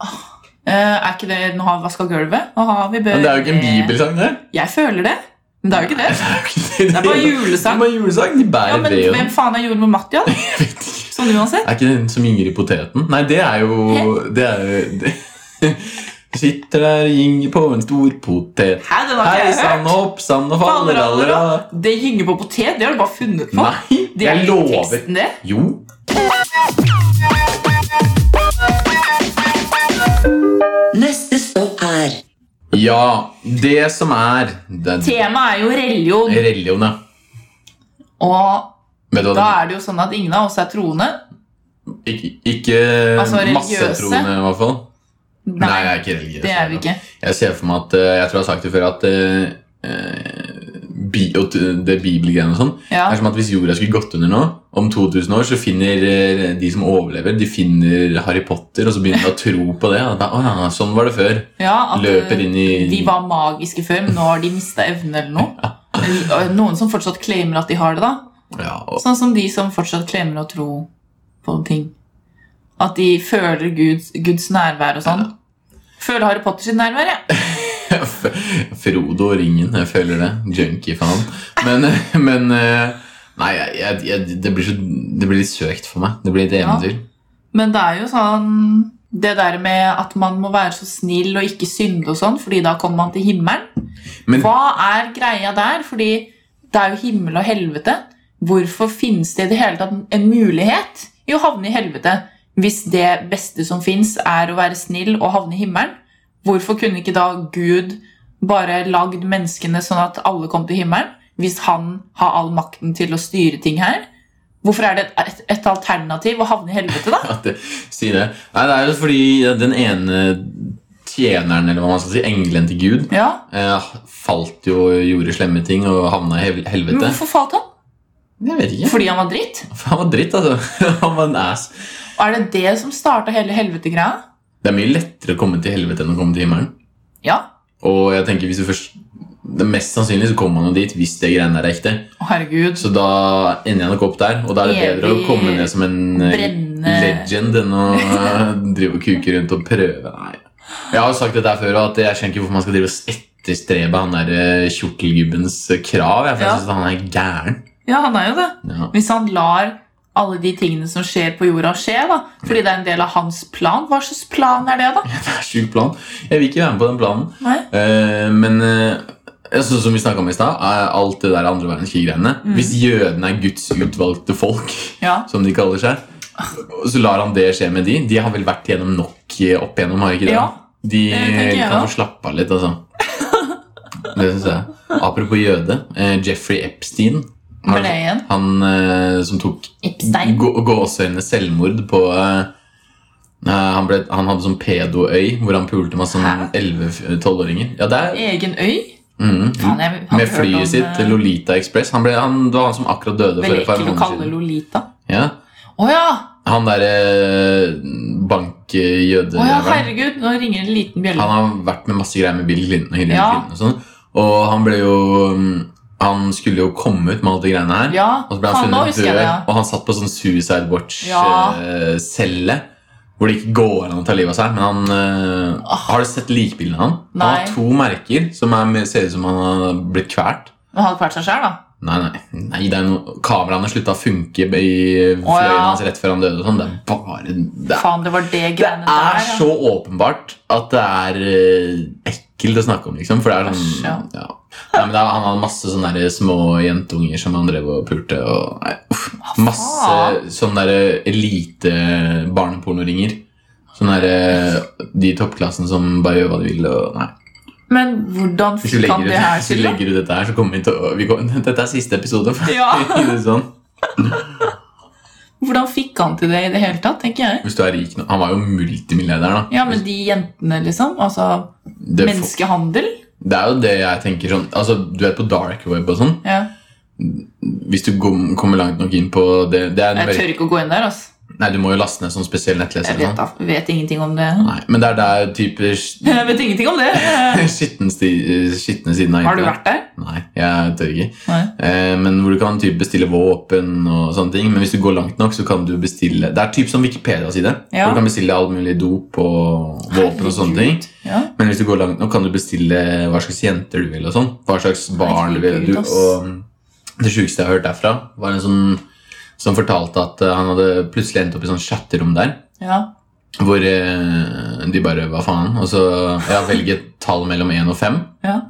[SPEAKER 3] Åh, eh, er ikke det 'Nå har vi vaska gulvet'? Nå har vi bør...
[SPEAKER 1] Men det er jo ikke en bibelsang, det.
[SPEAKER 3] Jeg føler det. Men det er jo ikke det.
[SPEAKER 1] Det
[SPEAKER 3] Det er bare julesang.
[SPEAKER 1] Det er bare julesang. De
[SPEAKER 3] Ja,
[SPEAKER 1] bærer
[SPEAKER 3] Men
[SPEAKER 1] ved og
[SPEAKER 3] hvem faen er jordmor Matja? da? Sånn uansett.
[SPEAKER 1] Er ikke den som gynger i poteten? Nei, det er jo Det er jo det. Sitter der og gynger på en stor potet.
[SPEAKER 3] Hæ, den har ikke
[SPEAKER 1] Hei
[SPEAKER 3] jeg hørt.
[SPEAKER 1] sann, hopp sann og faller aller av.
[SPEAKER 3] Det gynger på potet, det har du bare funnet på.
[SPEAKER 1] Nei,
[SPEAKER 3] det er
[SPEAKER 1] jeg
[SPEAKER 3] jo ikke
[SPEAKER 1] lover.
[SPEAKER 3] teksten, det.
[SPEAKER 1] Jo.
[SPEAKER 2] Neste stopp er
[SPEAKER 1] Ja, det som er det,
[SPEAKER 3] Temaet er jo religion,
[SPEAKER 1] Religion, ja.
[SPEAKER 3] og
[SPEAKER 1] Vet du hva
[SPEAKER 3] da
[SPEAKER 1] det-
[SPEAKER 3] er det jo sånn at ingen av oss er troende.
[SPEAKER 1] Ikke, ikke
[SPEAKER 3] Altså, religiøse?
[SPEAKER 1] massetroende, i hvert fall. Nei, jeg er ikke religiøs.
[SPEAKER 3] det er vi ikke.
[SPEAKER 1] Jeg ser for meg at eh, Jeg tror jeg har sagt det før, at eh, eh, bi, og t- det bibelgreiene og sånn
[SPEAKER 3] Ja.
[SPEAKER 1] Det er som at Hvis jorda skulle gått under nå, om 2000 år, så finner eh, de som overlever, de finner Harry Potter, og så begynner de å tro på det. Og da, «Å ja, sånn var det før.
[SPEAKER 3] Ja, at eh,
[SPEAKER 1] Løper inn i
[SPEAKER 3] de var magiske før, men nå har de mista evnen eller noe. Eh, Og Noen som fortsatt claimer at de har det, da.
[SPEAKER 1] ja, og,
[SPEAKER 3] Sånn som de som fortsatt claimer å tro på ting. At de føler Guds, Guds nærvær og sånn. Føler Harry Potter sitt nærvær, ja.
[SPEAKER 1] Frodo og Ringen, jeg føler det. Junkie-faen. Men, men eh, Nei, jeg, jeg, jeg, det, blir så, det blir litt søkt for meg. Det blir et
[SPEAKER 3] Ja.
[SPEAKER 1] eventyr.
[SPEAKER 3] Men det er jo sånn Det der med at man må være så snill og ikke synde og sånn, fordi da kommer man til himmelen.
[SPEAKER 1] Men-
[SPEAKER 3] Hva er greia der? Fordi det er jo himmel og helvete. Hvorfor finnes det i det hele tatt en mulighet i å havne i helvete hvis det beste som fins, er å være snill og havne i himmelen? Hvorfor kunne ikke da Gud bare lagd menneskene sånn at alle kom til himmelen? Hvis han har all makten til å styre ting her? Hvorfor er det et, et alternativ å havne i helvete, da?
[SPEAKER 1] at det, si det. Nei, det er jo fordi den ene tjeneren, eller hva man skal si, engelen til Gud,
[SPEAKER 3] Ja,
[SPEAKER 1] eh, falt jo og gjorde slemme ting og havna i hel-
[SPEAKER 3] Men
[SPEAKER 1] helvete.
[SPEAKER 3] hvorfor falt han?
[SPEAKER 1] Jeg vet ikke.
[SPEAKER 3] Fordi han var dritt?
[SPEAKER 1] Han var dritt, altså. Han var en ass.
[SPEAKER 3] Og er det det som starta hele helvetegreia?
[SPEAKER 1] Det er mye lettere å komme til helvete enn å komme til himmelen.
[SPEAKER 3] Ja.
[SPEAKER 1] Og jeg tenker hvis du først det Mest sannsynlig så kommer man jo dit hvis det greiene er ekte.
[SPEAKER 3] Å, herregud.
[SPEAKER 1] Så da ender jeg nok opp der, og da er det bedre å
[SPEAKER 3] Evig
[SPEAKER 1] komme ned som en eh,
[SPEAKER 3] brennende-
[SPEAKER 1] legend enn å eh, drive og kuke rundt og prøve. Nei. Jeg har jo sagt dette her før, og at jeg skjønner ikke hvorfor man skal drive og etterstrebe han der eh, kjortelgubbens krav. Jeg, for
[SPEAKER 3] Ja.
[SPEAKER 1] jeg synes han er gæren.
[SPEAKER 3] Ja, han er jo det.
[SPEAKER 1] Ja.
[SPEAKER 3] Hvis han lar alle de tingene som skjer på jorda, skje, da. Fordi det er en del av hans plan. Hva slags plan er det, da?
[SPEAKER 1] Det er sjuk plan. Jeg vil ikke være med på den planen.
[SPEAKER 3] Nei.
[SPEAKER 1] Eh, men eh, jeg synes, som vi snakka om i stad, er alt det der andre verdenskrig-greiene
[SPEAKER 3] Mm.
[SPEAKER 1] Hvis jødene er Guds utvalgte folk,
[SPEAKER 3] Ja.
[SPEAKER 1] som de kaller seg, så lar han det skje med de. De har vel vært gjennom nok eh, opp igjennom, har de ikke det?
[SPEAKER 3] ja.
[SPEAKER 1] De
[SPEAKER 3] Det tenker jeg
[SPEAKER 1] kan
[SPEAKER 3] også.
[SPEAKER 1] få slappe av litt, altså. Det synes jeg. Apropos jøde. Eh, Jeffrey Epstein.
[SPEAKER 3] Var det igjen?
[SPEAKER 1] Han eh, som tok
[SPEAKER 3] Epstein.
[SPEAKER 1] gå- gåseøyne selvmord på eh, eh, han, ble, han hadde sånn pedoøy hvor han pulte masse sånn
[SPEAKER 3] Hæ?
[SPEAKER 1] 11-12-åringer. Ja, det er
[SPEAKER 3] Egen øy?
[SPEAKER 1] mm,
[SPEAKER 3] Faen, jeg har
[SPEAKER 1] Med
[SPEAKER 3] hørt om, eh,
[SPEAKER 1] flyet sitt, Lolita Express. Han ble, han, det var han som akkurat døde for
[SPEAKER 3] Veldig
[SPEAKER 1] et par
[SPEAKER 3] ekkelt å
[SPEAKER 1] måneder
[SPEAKER 3] kalle
[SPEAKER 1] siden.
[SPEAKER 3] Lolita.
[SPEAKER 1] Ja.
[SPEAKER 3] Å ja!
[SPEAKER 1] Han derre eh, bankjøde
[SPEAKER 3] Å ja, herregud, nå ringer en liten bjelle.
[SPEAKER 1] Han har vært med masse greier med Bill Clinton og Hillary
[SPEAKER 3] Ja.
[SPEAKER 1] Clinton og sånn. Og han ble jo mm, Han skulle jo komme ut med alt det greiene her.
[SPEAKER 3] Ja,
[SPEAKER 1] Og så ble han
[SPEAKER 3] han nå
[SPEAKER 1] funnet
[SPEAKER 3] husker jeg
[SPEAKER 1] død,
[SPEAKER 3] det. ja.
[SPEAKER 1] og han satt på sånn suicide
[SPEAKER 3] Ja.
[SPEAKER 1] watch-celle. Hvor det ikke går an å ta livet av seg. Men han eh,
[SPEAKER 3] Ah.
[SPEAKER 1] Har du sett likbildene han? Han
[SPEAKER 3] Nei.
[SPEAKER 1] har to merker som er, med- ser ut som han har blitt kvalt.
[SPEAKER 3] Men han hadde kvært seg sjøl, da.
[SPEAKER 1] Nei, nei, nei det er noe, kameraene slutta å funke i fløyen
[SPEAKER 3] Å, ja.
[SPEAKER 1] hans rett før han døde. og Sånn. Det er bare det, er-
[SPEAKER 3] Faen, det var det
[SPEAKER 1] det
[SPEAKER 3] greiene
[SPEAKER 1] er
[SPEAKER 3] der. ja.
[SPEAKER 1] så åpenbart at det er eh, ekkelt å snakke om, liksom. For det er
[SPEAKER 3] Æsj, ja.
[SPEAKER 1] sånn ja. Nei, men det er, Han hadde masse sånne der små jentunger som han drev og pulte. Og, nei, uff, masse
[SPEAKER 3] faen?
[SPEAKER 1] sånne der eh, elite barnepornoringer. Sånne der, eh, De i toppklassen som bare gjør hva de vil. Og, nei.
[SPEAKER 3] Men hvordan
[SPEAKER 1] Hvis vi
[SPEAKER 3] fikk
[SPEAKER 1] legger,
[SPEAKER 3] han
[SPEAKER 1] ut,
[SPEAKER 3] det her
[SPEAKER 1] hvis vi
[SPEAKER 3] til? da?
[SPEAKER 1] legger ut dette her, så kommer vi til å vi kommer, Dette er siste episode. for å
[SPEAKER 3] Ja.
[SPEAKER 1] si det sånn.
[SPEAKER 3] Hvordan fikk han til det i det hele tatt, tenker jeg.
[SPEAKER 1] Hvis du er rik nå Han var jo multimilliardær, da.
[SPEAKER 3] Ja, men de jentene, liksom. Altså,
[SPEAKER 1] det, får-
[SPEAKER 3] menneskehandel.
[SPEAKER 1] det er jo det jeg tenker sånn Altså, Du vet på dark web og sånn.
[SPEAKER 3] Ja.
[SPEAKER 1] Hvis du kom- kommer langt nok inn på det, det er en
[SPEAKER 3] Jeg
[SPEAKER 1] veldig-
[SPEAKER 3] tør ikke å gå inn der, altså.
[SPEAKER 1] Nei, Du må jo laste ned sånn spesiell nettleser.
[SPEAKER 3] Jeg
[SPEAKER 1] og sånn.
[SPEAKER 3] vet, da, vet ingenting om det.
[SPEAKER 1] Nei, men det er der typer sk-
[SPEAKER 3] Jeg vet ingenting om det.
[SPEAKER 1] skitne sti- skitne siden av
[SPEAKER 3] Har du
[SPEAKER 1] internett.
[SPEAKER 3] vært der?
[SPEAKER 1] Nei, jeg tør ikke.
[SPEAKER 3] Nei.
[SPEAKER 1] Eh, men hvor du kan typ bestille våpen og sånne ting. Men hvis du går langt nok, så kan du bestille Det er typ som Wikipedia-side.
[SPEAKER 3] Ja.
[SPEAKER 1] Hvor du kan bestille all mulig dop og våpen og sånne ting.
[SPEAKER 3] Ja.
[SPEAKER 1] Men hvis du går langt nok, kan du bestille eh, hva slags jenter du vil. og sånn Hva slags barn du vil. Du,
[SPEAKER 3] Herregud, ass.
[SPEAKER 1] og det sjukeste jeg har hørt derfra, var en sånn som fortalte at eh, han hadde plutselig endt opp i sånn chatterom der.
[SPEAKER 3] ja.
[SPEAKER 1] Hvor eh, de bare Hva faen? Og så ja, velge et tall mellom én og fem.
[SPEAKER 3] Ja.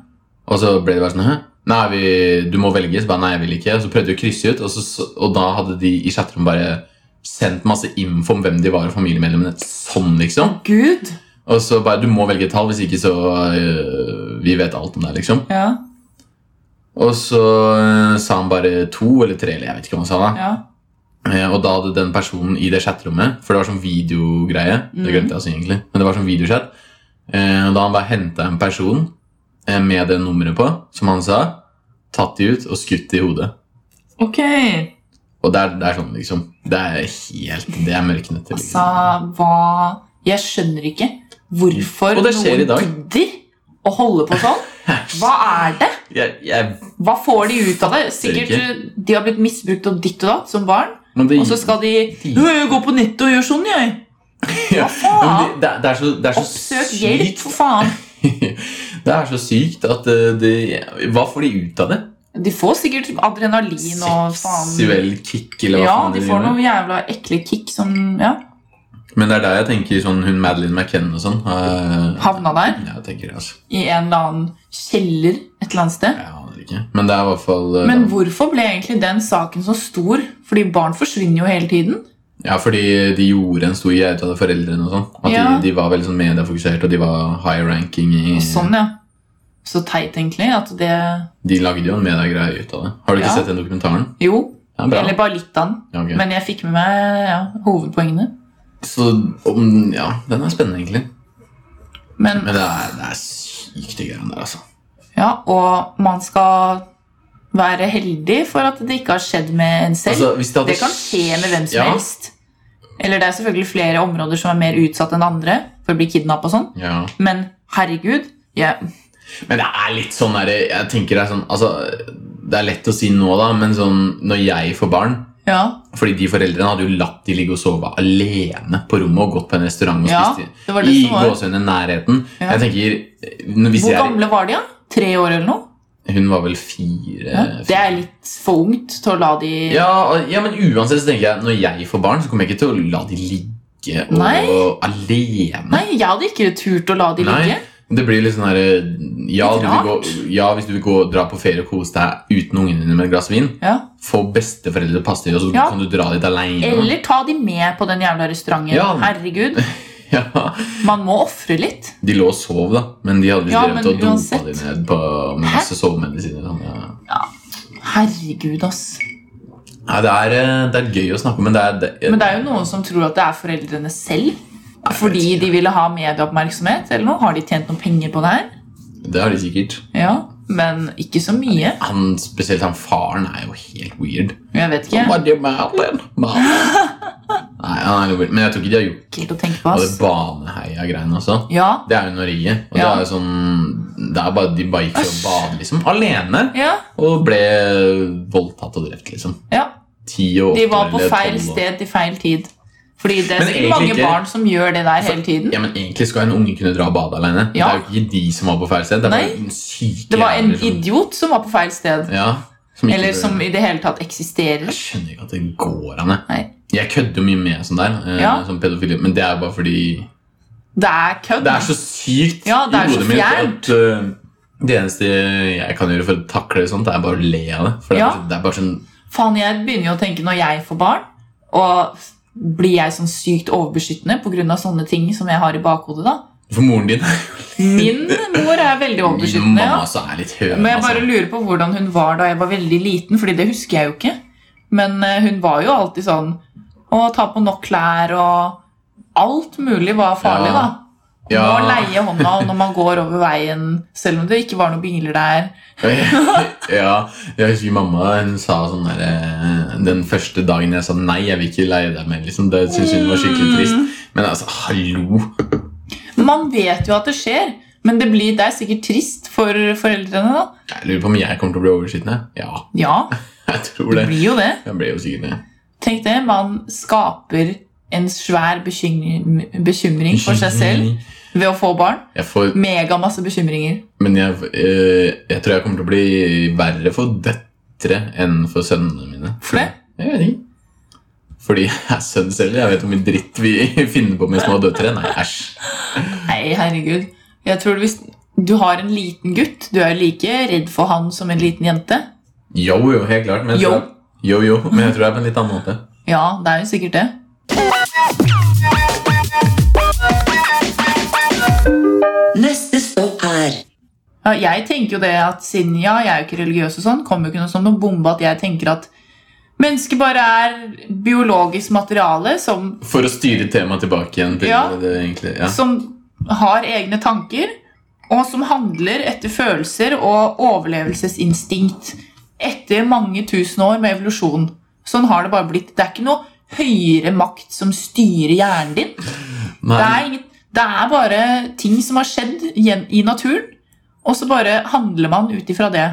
[SPEAKER 1] Og så ble det bare sånn Hæ? Nei, vi, du må velge. Så bare nei, jeg vil ikke. Og så prøvde de å krysse ut, og, så, og da hadde de i chatterom bare sendt masse info om hvem de var og familiemedlemmene. Sånn, liksom.
[SPEAKER 3] Gud!
[SPEAKER 1] Og så bare, du må velge et tall, hvis ikke så øh, Vi vet alt om deg, liksom.
[SPEAKER 3] Ja.
[SPEAKER 1] Og så øh, sa han bare to eller tre, eller jeg vet ikke hva han sa. da
[SPEAKER 3] ja.
[SPEAKER 1] Eh, Og da hadde den personen i det chatterommet For det var sånn videogreie.
[SPEAKER 3] Mhm.
[SPEAKER 1] Det glemte jeg å si, egentlig. Men det var sånn videochat. Eh, og da han bare henta en person eh, med det nummeret på, som han sa, tatt de ut og skutt i hodet.
[SPEAKER 3] Ok.
[SPEAKER 1] Og det er, det er sånn, liksom. Det er helt Det er mørknøtter.
[SPEAKER 3] Altså,
[SPEAKER 1] Liksom.
[SPEAKER 3] hva Jeg skjønner ikke hvorfor
[SPEAKER 1] Og det skjer i dag.
[SPEAKER 3] gidder å holde på sånn. Hva er det?
[SPEAKER 1] Jeg, jeg,
[SPEAKER 3] Hva får de ut av det? Sikkert
[SPEAKER 1] Fatter
[SPEAKER 3] eh, de har blitt misbrukt og ditt og datt som barn,
[SPEAKER 1] men det,
[SPEAKER 3] og så skal de
[SPEAKER 1] de-
[SPEAKER 3] «Nå, jeg går på nettet og gjør sånn, jeg.
[SPEAKER 1] Ja,
[SPEAKER 3] Hva faen?
[SPEAKER 1] men det, det er så, det er så
[SPEAKER 3] Oppsøk
[SPEAKER 1] sykt-
[SPEAKER 3] hjelp, for faen.
[SPEAKER 1] Det er så sykt at eh, det, Hva får de ut av det?
[SPEAKER 3] De får sikkert adrenalin og faen.
[SPEAKER 1] Seksuell kick, eller hva
[SPEAKER 3] Ja,
[SPEAKER 1] faen
[SPEAKER 3] de
[SPEAKER 1] driver
[SPEAKER 3] får
[SPEAKER 1] med.
[SPEAKER 3] noe jævla ekle kick som ja,
[SPEAKER 1] Men det er der jeg tenker sånn hun Madeleine McKenna og sånn. eh,
[SPEAKER 3] havna der
[SPEAKER 1] jeg tenker det, altså.
[SPEAKER 3] i en eller annen kjeller et eller annet sted.
[SPEAKER 1] Jeg aner ikke. Men det er i hvert fall eh,
[SPEAKER 3] Men hvorfor ble egentlig den saken så stor? Fordi barn forsvinner jo hele tiden.
[SPEAKER 1] Ja, fordi de gjorde en stor greie ut av det, foreldrene og sånn. At
[SPEAKER 3] Ja.
[SPEAKER 1] de, de var veldig sånn mediefokusert, og de var high ranking i
[SPEAKER 3] Og sånn, ja. Så teit, egentlig. At det
[SPEAKER 1] De lagde jo en mediegreie ut av det. Har du ikke
[SPEAKER 3] Ja.
[SPEAKER 1] sett den dokumentaren?
[SPEAKER 3] Jo.
[SPEAKER 1] Ja, bra.
[SPEAKER 3] Eller bare litt av den.
[SPEAKER 1] Ja, ok.
[SPEAKER 3] Men jeg fikk med meg ja, hovedpoengene.
[SPEAKER 1] Så om, ja, den er spennende, egentlig.
[SPEAKER 3] Men
[SPEAKER 1] Men det er, det er sykt, de greiene der, altså.
[SPEAKER 3] ja, og man skal være heldig for at det ikke har skjedd med en selv.
[SPEAKER 1] Altså, hvis det hadde
[SPEAKER 3] det kan skje med hvem som
[SPEAKER 1] Ja.
[SPEAKER 3] helst. Eller det er selvfølgelig flere områder som er mer utsatt enn andre for å bli kidnappa og sånn.
[SPEAKER 1] Ja.
[SPEAKER 3] Men herregud, jeg,
[SPEAKER 1] Men det er litt sånn der, jeg tenker det er sånn altså, Det er lett å si nå, da, men sånn når jeg får barn
[SPEAKER 3] ja,
[SPEAKER 1] Fordi de foreldrene hadde jo latt de ligge og sove alene på rommet og gått på en restaurant og
[SPEAKER 3] ja,
[SPEAKER 1] spist
[SPEAKER 3] det var
[SPEAKER 1] i,
[SPEAKER 3] det
[SPEAKER 1] i
[SPEAKER 3] som var.
[SPEAKER 1] gåsehudene nærheten.
[SPEAKER 3] Ja.
[SPEAKER 1] Jeg tenker når- hvis
[SPEAKER 3] Hvor
[SPEAKER 1] jeg,
[SPEAKER 3] gamle var de, da? Tre år eller noe?
[SPEAKER 1] Hun var vel fire
[SPEAKER 3] Ja. Det
[SPEAKER 1] fire-
[SPEAKER 3] er litt for ungt til å la de
[SPEAKER 1] ja, og- ja, men uansett så tenker jeg når jeg får barn, så kommer jeg ikke til å la de ligge og,
[SPEAKER 3] Nei.
[SPEAKER 1] alene.
[SPEAKER 3] Nei, jeg hadde ikke turt å la de
[SPEAKER 1] Nei.
[SPEAKER 3] ligge.
[SPEAKER 1] Det blir litt sånn her ja,
[SPEAKER 3] Litt
[SPEAKER 1] du vil gå, ja, hvis du vil gå og dra på ferie og kose deg uten ungene dine med et glass vin,
[SPEAKER 3] Ja.
[SPEAKER 1] få besteforeldre til å passe til, og så
[SPEAKER 3] Ja.
[SPEAKER 1] kan du dra dit alene.
[SPEAKER 3] Eller ta de med på den jævla restauranten.
[SPEAKER 1] Ja.
[SPEAKER 3] Herregud,
[SPEAKER 1] Ja,
[SPEAKER 3] man må ofre litt.
[SPEAKER 1] de lå og sov, da, men de hadde visst
[SPEAKER 3] Ja,
[SPEAKER 1] drevet
[SPEAKER 3] men
[SPEAKER 1] og dopa
[SPEAKER 3] uansett.
[SPEAKER 1] de ned på med masse sovemedisiner. og Sånn, ja.
[SPEAKER 3] Herregud, ass.
[SPEAKER 1] Nei, det er, eh, det er gøy å snakke om, men det er, det,
[SPEAKER 3] Men det er jo noen som tror at det er foreldrene selv. Fordi
[SPEAKER 1] ikke.
[SPEAKER 3] de ville ha medieoppmerksomhet eller noe. Har de tjent noen penger på det her?
[SPEAKER 1] det har de sikkert.
[SPEAKER 3] Ja, men ikke så mye.
[SPEAKER 1] Han, spesielt han faren er jo helt weird.
[SPEAKER 3] Jeg vet ikke.
[SPEAKER 1] Hva er det, Merlin? Merlin? Nei, han er lobil. Men jeg tror ikke de har gjort
[SPEAKER 3] Kult å tenke på,
[SPEAKER 1] og det
[SPEAKER 3] ass.
[SPEAKER 1] baneheia-greiene også.
[SPEAKER 3] Ja.
[SPEAKER 1] Det er jo Norge. Og
[SPEAKER 3] Ja.
[SPEAKER 1] det er jo sånn det er bare, De bare gikk for å bade, liksom. Alene.
[SPEAKER 3] Ja,
[SPEAKER 1] Og ble voldtatt og drept, liksom.
[SPEAKER 3] ja.
[SPEAKER 1] Ti og
[SPEAKER 3] De
[SPEAKER 1] åtte
[SPEAKER 3] var på
[SPEAKER 1] eller
[SPEAKER 3] feil
[SPEAKER 1] tolv og-
[SPEAKER 3] sted til feil tid. Fordi det er
[SPEAKER 1] Men
[SPEAKER 3] sikkert
[SPEAKER 1] egentlig
[SPEAKER 3] mange
[SPEAKER 1] ikke. Altså,
[SPEAKER 3] barn som gjør det der hele tiden.
[SPEAKER 1] Ja, men Egentlig skal en unge kunne dra og bade alene.
[SPEAKER 3] Ja.
[SPEAKER 1] Det er jo ikke de som var på feil sted. Det var
[SPEAKER 3] Nei.
[SPEAKER 1] en syke
[SPEAKER 3] Det var en
[SPEAKER 1] jævler som-
[SPEAKER 3] idiot som var på feil sted.
[SPEAKER 1] Ja, som ikke
[SPEAKER 3] Eller
[SPEAKER 1] bør-
[SPEAKER 3] som i det hele tatt eksisterer.
[SPEAKER 1] Jeg skjønner ikke at det går an. jeg.
[SPEAKER 3] Nei.
[SPEAKER 1] Jeg kødder jo mye med sånn der, eh,
[SPEAKER 3] Ja.
[SPEAKER 1] som pedofili, men det er bare fordi
[SPEAKER 3] Det er kødd.
[SPEAKER 1] Det er så sykt
[SPEAKER 3] Ja, det er
[SPEAKER 1] i
[SPEAKER 3] så
[SPEAKER 1] hodet mitt
[SPEAKER 3] fjernt.
[SPEAKER 1] at eh, det eneste jeg kan gjøre for å takle det sånt, er bare å le av det. For det er,
[SPEAKER 3] Ja.
[SPEAKER 1] bare- det er bare sånn
[SPEAKER 3] Faen, jeg begynner jo å tenke når jeg får barn, og blir jeg sånn sykt overbeskyttende pga. sånne ting som jeg har i bakhodet, da?
[SPEAKER 1] For moren din
[SPEAKER 3] Min mor er veldig
[SPEAKER 1] Min
[SPEAKER 3] overbeskyttende.
[SPEAKER 1] mamma
[SPEAKER 3] ja.
[SPEAKER 1] også er litt høn.
[SPEAKER 3] Men jeg bare
[SPEAKER 1] altså.
[SPEAKER 3] lurer på hvordan hun var da jeg var veldig liten, fordi det husker jeg jo ikke. Men eh, hun var jo alltid sånn å ta på nok klær og Alt mulig var farlig,
[SPEAKER 1] Ja.
[SPEAKER 3] da.
[SPEAKER 1] Ja.
[SPEAKER 3] Må leie hånda når man går over veien, selv om det ikke var noen biler der.
[SPEAKER 1] ja, jeg husker mamma hun sa sånn der eh, Den første dagen jeg sa nei, jeg vil ikke leie deg mer. Liksom. Det syntes hun var
[SPEAKER 3] Mm.
[SPEAKER 1] skikkelig trist. Men altså, hallo!
[SPEAKER 3] Man vet jo at det skjer, men det, blir, det er sikkert trist for foreldrene, da.
[SPEAKER 1] Jeg lurer på om jeg kommer til å bli overskitne. Ja,
[SPEAKER 3] Ja,
[SPEAKER 1] jeg tror
[SPEAKER 3] det
[SPEAKER 1] det.
[SPEAKER 3] blir jo det.
[SPEAKER 1] Jeg ble jo sikkert det.
[SPEAKER 3] Tenk det, man skaper en svær bekymring, bekymring for seg selv ved å få barn.
[SPEAKER 1] Jeg får,
[SPEAKER 3] Mega masse bekymringer.
[SPEAKER 1] men jeg, eh, jeg tror jeg kommer til å bli verre for døtre enn for sønnene mine.
[SPEAKER 3] For det?
[SPEAKER 1] Jeg vet ikke. Fordi jeg er sønn selv. Jeg vet hvor mye dritt vi finner på med små døtre. Nei, æsj.
[SPEAKER 3] Nei, herregud. Jeg tror hvis du har en liten gutt, du er jo like redd for han som en liten jente.
[SPEAKER 1] Jo, jo, helt klart. Men jeg
[SPEAKER 3] Jo.
[SPEAKER 1] tror, jo, jo, men jeg tror det er på en litt annen måte.
[SPEAKER 3] Ja, det er jo sikkert det.
[SPEAKER 2] Neste stopp er
[SPEAKER 3] Ja, jeg tenker jo det at siden ja, jeg er jo ikke religiøs og sånn, kommer jo ikke noe som noen bombe at jeg tenker at mennesket bare er biologisk materiale som,
[SPEAKER 1] For å styre temaet tilbake igjen til
[SPEAKER 3] Ja.
[SPEAKER 1] det egentlig ja.
[SPEAKER 3] som har egne tanker, og som handler etter følelser og overlevelsesinstinkt etter mange tusen år med evolusjon. Sånn har det bare blitt. Det er ikke noe høyere makt som styrer hjernen din.
[SPEAKER 1] Nei,
[SPEAKER 3] Det er, ingen, det er bare ting som har skjedd gjen- i naturen, og så bare handler man ut ifra det.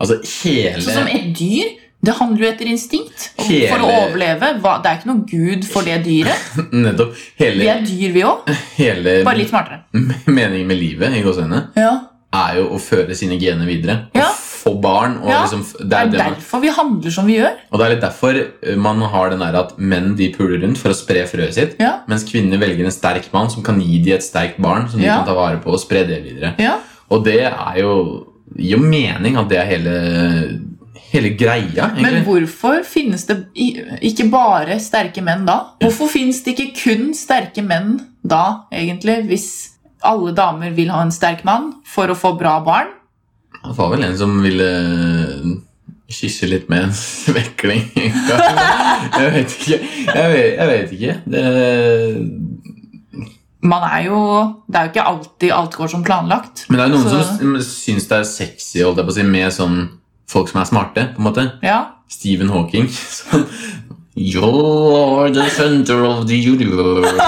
[SPEAKER 1] altså
[SPEAKER 3] Så som
[SPEAKER 1] hele
[SPEAKER 3] et dyr, det handler jo etter instinkt. Og
[SPEAKER 1] Hele-
[SPEAKER 3] For å overleve. hva- Det er ikke noe gud for det dyret.
[SPEAKER 1] Nettopp.
[SPEAKER 3] Vi
[SPEAKER 1] Hele,
[SPEAKER 3] er dyr, vi òg.
[SPEAKER 1] hele
[SPEAKER 3] Bare litt smartere.
[SPEAKER 1] meningen med livet i gåseøynene
[SPEAKER 3] Ja.
[SPEAKER 1] er jo å føre sine gener videre.
[SPEAKER 3] Ja.
[SPEAKER 1] Å få barn. Og,
[SPEAKER 3] Ja.
[SPEAKER 1] liksom, det
[SPEAKER 3] Det
[SPEAKER 1] er
[SPEAKER 3] er
[SPEAKER 1] det man,
[SPEAKER 3] derfor vi handler som vi gjør.
[SPEAKER 1] og det er litt derfor eh, man har den der at menn de puler rundt for å spre frøet sitt,
[SPEAKER 3] Ja.
[SPEAKER 1] mens kvinner velger en sterk mann som kan gi de et sterkt barn som de
[SPEAKER 3] Ja.
[SPEAKER 1] kan ta vare på og spre det videre.
[SPEAKER 3] Ja.
[SPEAKER 1] Og det er jo gir jo mening at det er hele, hele greia,
[SPEAKER 3] Men
[SPEAKER 1] egentlig.
[SPEAKER 3] hvorfor finnes det i- ikke bare sterke menn da? Hvorfor finnes det ikke kun sterke menn da, egentlig? Hvis alle damer vil ha en sterk mann for å få bra barn?
[SPEAKER 1] Det var vel en som ville eh, kysse litt med en svekling. jeg vet ikke. Jeg vet, jeg vet ikke. Det,
[SPEAKER 3] Man er jo Det er jo ikke alltid alt går som planlagt.
[SPEAKER 1] men det er jo noen
[SPEAKER 3] Så-
[SPEAKER 1] som syns det er sexy holdt jeg på å si, med sånn folk som er smarte. på en måte.
[SPEAKER 3] Ja.
[SPEAKER 1] Stephen Hawking. Sånn You're the center of the universe.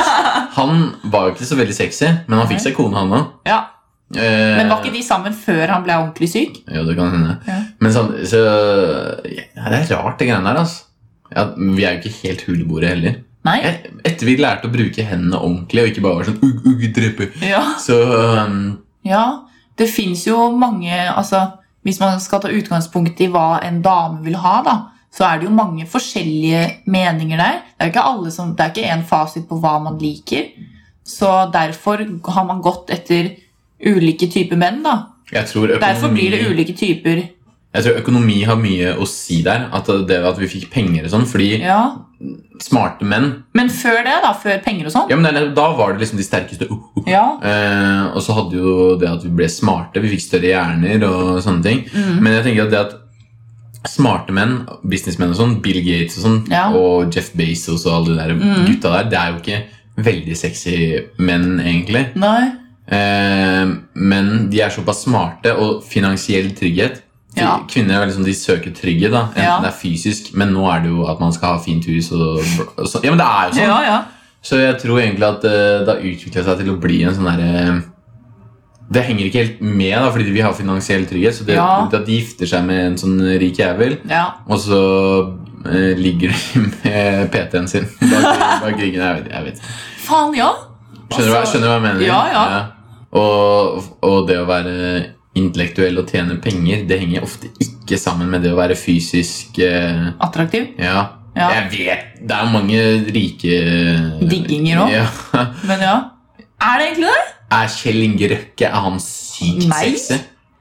[SPEAKER 1] Han var jo ikke så veldig sexy, men han fikk seg kone, han Eh, òg.
[SPEAKER 3] ja. Men var ikke de sammen før han ble ordentlig syk?
[SPEAKER 1] Ja, det kan hende.
[SPEAKER 3] Ja.
[SPEAKER 1] Men sånn, så, ja, det er rart, det greiene der. altså. Ja, men vi er jo ikke helt huleboere heller.
[SPEAKER 3] Nei?
[SPEAKER 1] Et- Etter vi lærte å bruke hendene ordentlig, og ikke bare var sånn ugg, ugg, drepe,
[SPEAKER 3] Ja,
[SPEAKER 1] så um,
[SPEAKER 3] ja. det fins jo mange altså, Hvis man skal ta utgangspunkt i hva en dame vil ha, da, så er det jo mange forskjellige meninger der. Det er ikke alle som, det er ikke én fasit på hva man liker. Så derfor har man gått etter ulike typer menn. da.
[SPEAKER 1] jeg tror,
[SPEAKER 3] Derfor blir det
[SPEAKER 1] økonomi,
[SPEAKER 3] ulike typer.
[SPEAKER 1] jeg tror økonomi har mye å si der. At det at vi fikk penger og sånn. Fordi
[SPEAKER 3] Ja.
[SPEAKER 1] smarte menn
[SPEAKER 3] Men før det, da, før penger og sånn
[SPEAKER 1] ja, men det er- Da var det liksom de sterkeste. Uh, uh.
[SPEAKER 3] Ja.
[SPEAKER 1] Eh, og så hadde jo det at vi ble smarte, vi fikk større hjerner og sånne ting.
[SPEAKER 3] Mm.
[SPEAKER 1] Men jeg tenker at det at smarte menn, businessmenn og sånn, Bill Gates og sånn,
[SPEAKER 3] Ja. Mm.
[SPEAKER 1] og Jeff Bezos og alle de der gutta der, det er jo ikke veldig sexy menn, egentlig.
[SPEAKER 3] Nei.
[SPEAKER 1] Eh, men de er såpass smarte, og finansiell trygghet For
[SPEAKER 3] Ja.
[SPEAKER 1] Kvinner er veldig sånn, de søker trygghet, da. enten
[SPEAKER 3] Ja.
[SPEAKER 1] det er fysisk, men nå er det jo at man skal ha fint hus. Og, og så, ja, men det er jo sånn.
[SPEAKER 3] Ja, ja.
[SPEAKER 1] Så jeg tror egentlig at eh, det har utvikla seg til å bli en sånn derre eh, Det henger ikke helt med, da, fordi vi har finansiell trygghet. Så det,
[SPEAKER 3] Ja.
[SPEAKER 1] at de gifter seg med en sånn rik jævel,
[SPEAKER 3] ja.
[SPEAKER 1] og så eh, ligger de med PT-en sin bak bak ryggen. Jeg vet, jeg vet. ikke.
[SPEAKER 3] Faen, ja!
[SPEAKER 1] Skjønner, du hva,
[SPEAKER 3] Altså,
[SPEAKER 1] skjønner du hva jeg mener?
[SPEAKER 3] ja, ja.
[SPEAKER 1] Og, og det å være intellektuell og tjene penger, det henger ofte ikke sammen med det å være fysisk eh,
[SPEAKER 3] Attraktiv.
[SPEAKER 1] ja.
[SPEAKER 3] Ja.
[SPEAKER 1] Jeg vet Det er mange rike
[SPEAKER 3] Digginger også.
[SPEAKER 1] Ja.
[SPEAKER 3] Men ja. Er det egentlig det?
[SPEAKER 1] Er Kjell Inge Røkke er han sykt
[SPEAKER 3] Nei.
[SPEAKER 1] sexy?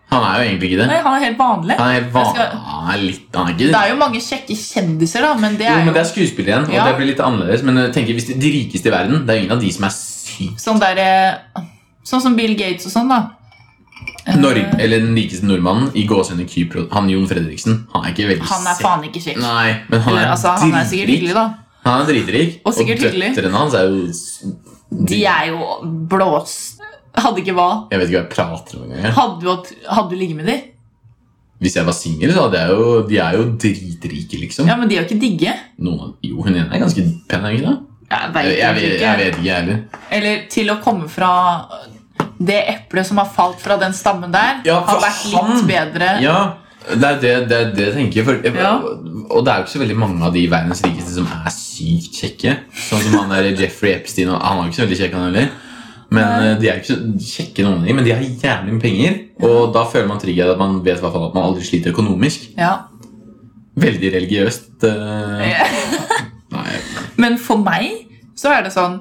[SPEAKER 1] Han er jo egentlig ikke
[SPEAKER 3] Nei,
[SPEAKER 1] det.
[SPEAKER 3] han er helt vanlig.
[SPEAKER 1] Han er helt
[SPEAKER 3] Jeg
[SPEAKER 1] vanlig.
[SPEAKER 3] skal-
[SPEAKER 1] Han er litt Han er ikke
[SPEAKER 3] Det er jo mange kjekke kjendiser, da, men det
[SPEAKER 1] Jo,
[SPEAKER 3] er
[SPEAKER 1] men
[SPEAKER 3] jo
[SPEAKER 1] det er skuespillere igjen, og
[SPEAKER 3] Ja.
[SPEAKER 1] det blir litt annerledes. Men jeg tenker, hvis de, de rikeste i verden, det er ingen av de som er sykt
[SPEAKER 3] sånn der, eh, Sånn som Bill Gates og sånn, da. Eh,
[SPEAKER 1] Norge, eller den rikeste nordmannen i gåsehudene Kypro, han Jon Fredriksen, han er ikke veldig
[SPEAKER 3] Han er
[SPEAKER 1] sexy.
[SPEAKER 3] faen ikke kjekk.
[SPEAKER 1] Nei, men han
[SPEAKER 3] Eller,
[SPEAKER 1] er,
[SPEAKER 3] altså, han er sikkert
[SPEAKER 1] dritrik.
[SPEAKER 3] hyggelig, da.
[SPEAKER 1] Han er dritrik.
[SPEAKER 3] Og sikkert hyggelig.
[SPEAKER 1] døtrene hans er jo s-
[SPEAKER 3] De er jo blås... Hadde ikke hva?
[SPEAKER 1] Jeg vet ikke hva jeg prater om engang. jeg.
[SPEAKER 3] Hadde du, hatt- hadde du ligget med de?
[SPEAKER 1] Hvis jeg var singel, så hadde jeg jo De er jo dritrike, liksom.
[SPEAKER 3] Ja, men de er jo ikke digge.
[SPEAKER 1] Noen av, jo, hun ene er ganske pen, er hun ikke det? Jeg,
[SPEAKER 3] Jeg vet
[SPEAKER 1] jeg, vet-
[SPEAKER 3] ikke.
[SPEAKER 1] jeg vet ikke, jeg heller.
[SPEAKER 3] Eller til å komme fra det eplet som har falt fra den stammen der,
[SPEAKER 1] Ja,
[SPEAKER 3] har
[SPEAKER 1] for
[SPEAKER 3] vært
[SPEAKER 1] han-
[SPEAKER 3] litt bedre.
[SPEAKER 1] Ja, det er det, det, er det jeg tenker. For, eh,
[SPEAKER 3] Ja.
[SPEAKER 1] Og det er jo ikke så veldig mange av de verdens rikeste som er sykt kjekke. Sånn som han der Jeffrey Epstein. Og, han var jo ikke så veldig kjekk, han heller. Men eh, De er jo ikke så kjekke noen av de, men de har jævlig med penger. Og da føler man trygghet at man vet i hvert fall at man aldri sliter økonomisk.
[SPEAKER 3] Ja.
[SPEAKER 1] Veldig religiøst. eh, nei,
[SPEAKER 3] Men for meg så er det sånn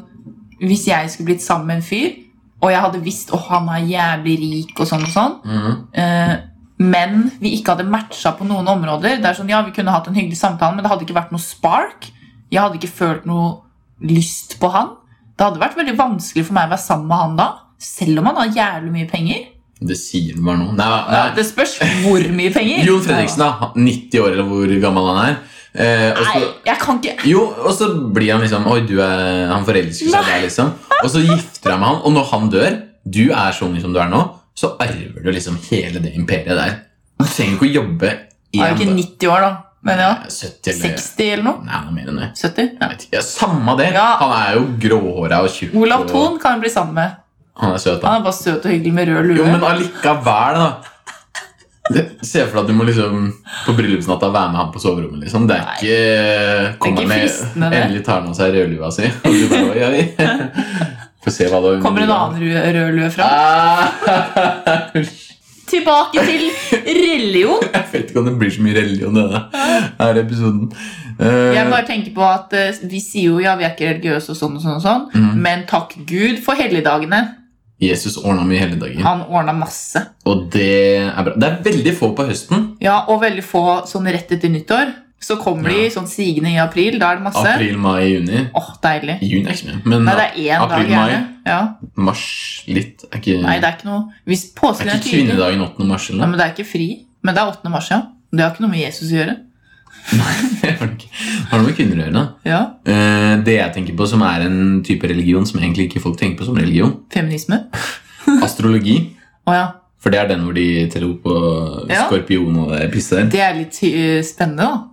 [SPEAKER 3] Hvis jeg skulle blitt sammen med en fyr, og jeg hadde visst at han er jævlig rik, og sånn og sånn
[SPEAKER 1] mhm.
[SPEAKER 3] eh, men vi ikke hadde matcha på noen områder. Det er sånn, ja, Vi kunne hatt en hyggelig samtale, men det hadde ikke vært noe spark. Jeg hadde ikke følt noe lyst på han. Det hadde vært veldig vanskelig for meg å være sammen med han da. Selv om han har jævlig mye penger.
[SPEAKER 1] Det sier vel bare noe. Nei, nei.
[SPEAKER 3] Det spørs hvor mye penger.
[SPEAKER 1] Jon Fredriksen, da. 90 år, eller hvor gammel han er. Eh, og
[SPEAKER 3] Nei,
[SPEAKER 1] så-
[SPEAKER 3] jeg kan ikke
[SPEAKER 1] Jo, og så blir han liksom Oi, du er, han forelsker seg der, liksom. Og så gifter han med han, og når han dør, du er så ung som du er nå, så arver du liksom hele det imperiet der. Du trenger ikke å jobbe
[SPEAKER 3] Jeg er jo ikke
[SPEAKER 1] dag.
[SPEAKER 3] 90 år, da. Men ja,
[SPEAKER 1] 70 eller
[SPEAKER 3] 60 eller noe.
[SPEAKER 1] eh, Nei, han er mer enn det.
[SPEAKER 3] 70.
[SPEAKER 1] Jeg vet ikke. Ja, Samme det.
[SPEAKER 3] Ja.
[SPEAKER 1] Han er jo gråhåra og tjukk.
[SPEAKER 3] Olav
[SPEAKER 1] og-
[SPEAKER 3] Thon kan jeg bli sammen med.
[SPEAKER 1] Han er søt, da.
[SPEAKER 3] Han er bare søt og hyggelig med rød
[SPEAKER 1] Jo,
[SPEAKER 3] lue.
[SPEAKER 1] men allikevel, da. Det- Se for deg at du må liksom på bryllupsnatta være med han på soverommet. liksom Det er
[SPEAKER 3] Nei.
[SPEAKER 1] ikke Kom
[SPEAKER 3] ikke
[SPEAKER 1] deg med,
[SPEAKER 3] fristende, det.
[SPEAKER 1] endelig tar han av seg rødlua si. Og du bare, oi, oi. Få se hva det
[SPEAKER 3] Kommer en annen rød, rød lue fra.
[SPEAKER 1] Ah,
[SPEAKER 3] Tilbake til religion.
[SPEAKER 1] jeg vet ikke om det blir så mye religion i denne her episoden. Eh,
[SPEAKER 3] Jeg bare tenker på at eh, Vi sier jo ja, vi er ikke religiøse, og sånn og sånn, og sånn
[SPEAKER 1] Mhm.
[SPEAKER 3] men takk Gud for helligdagene.
[SPEAKER 1] Jesus ordna mye hele dagen,
[SPEAKER 3] Han ordna masse.
[SPEAKER 1] og det er bra. Det er veldig få på høsten.
[SPEAKER 3] Ja, Og veldig få sånn rett etter nyttår. Så kommer de sånn sigende i april. Da er det masse. Åh,
[SPEAKER 1] April, mai, juni.
[SPEAKER 3] deilig.
[SPEAKER 1] Juni er ikke så mye, men
[SPEAKER 3] Nei, det er én dag
[SPEAKER 1] April, mai.
[SPEAKER 3] gjerne. Ja.
[SPEAKER 1] mars litt er ikke,
[SPEAKER 3] Nei, det er ikke noe Hvis
[SPEAKER 1] er
[SPEAKER 3] påsken er
[SPEAKER 1] ikke
[SPEAKER 3] tidlig
[SPEAKER 1] kvinnedagen 8. mars? Eller?
[SPEAKER 3] Nei,
[SPEAKER 1] noe?
[SPEAKER 3] men det er ikke fri. Men det er 8. mars, ja. Det har ikke noe med Jesus å gjøre.
[SPEAKER 1] Det har det ikke. Har det med kvinner å gjøre, da?
[SPEAKER 3] Ja,
[SPEAKER 1] Eh, det jeg tenker på som er en type religion som egentlig ikke folk tenker på som religion,
[SPEAKER 3] Feminisme.
[SPEAKER 1] astrologi.
[SPEAKER 3] Å ja.
[SPEAKER 1] For det er den hvor de teller opp på
[SPEAKER 3] Ja.
[SPEAKER 1] skorpion og det pisset der.
[SPEAKER 3] Det er litt eh, spennende, da.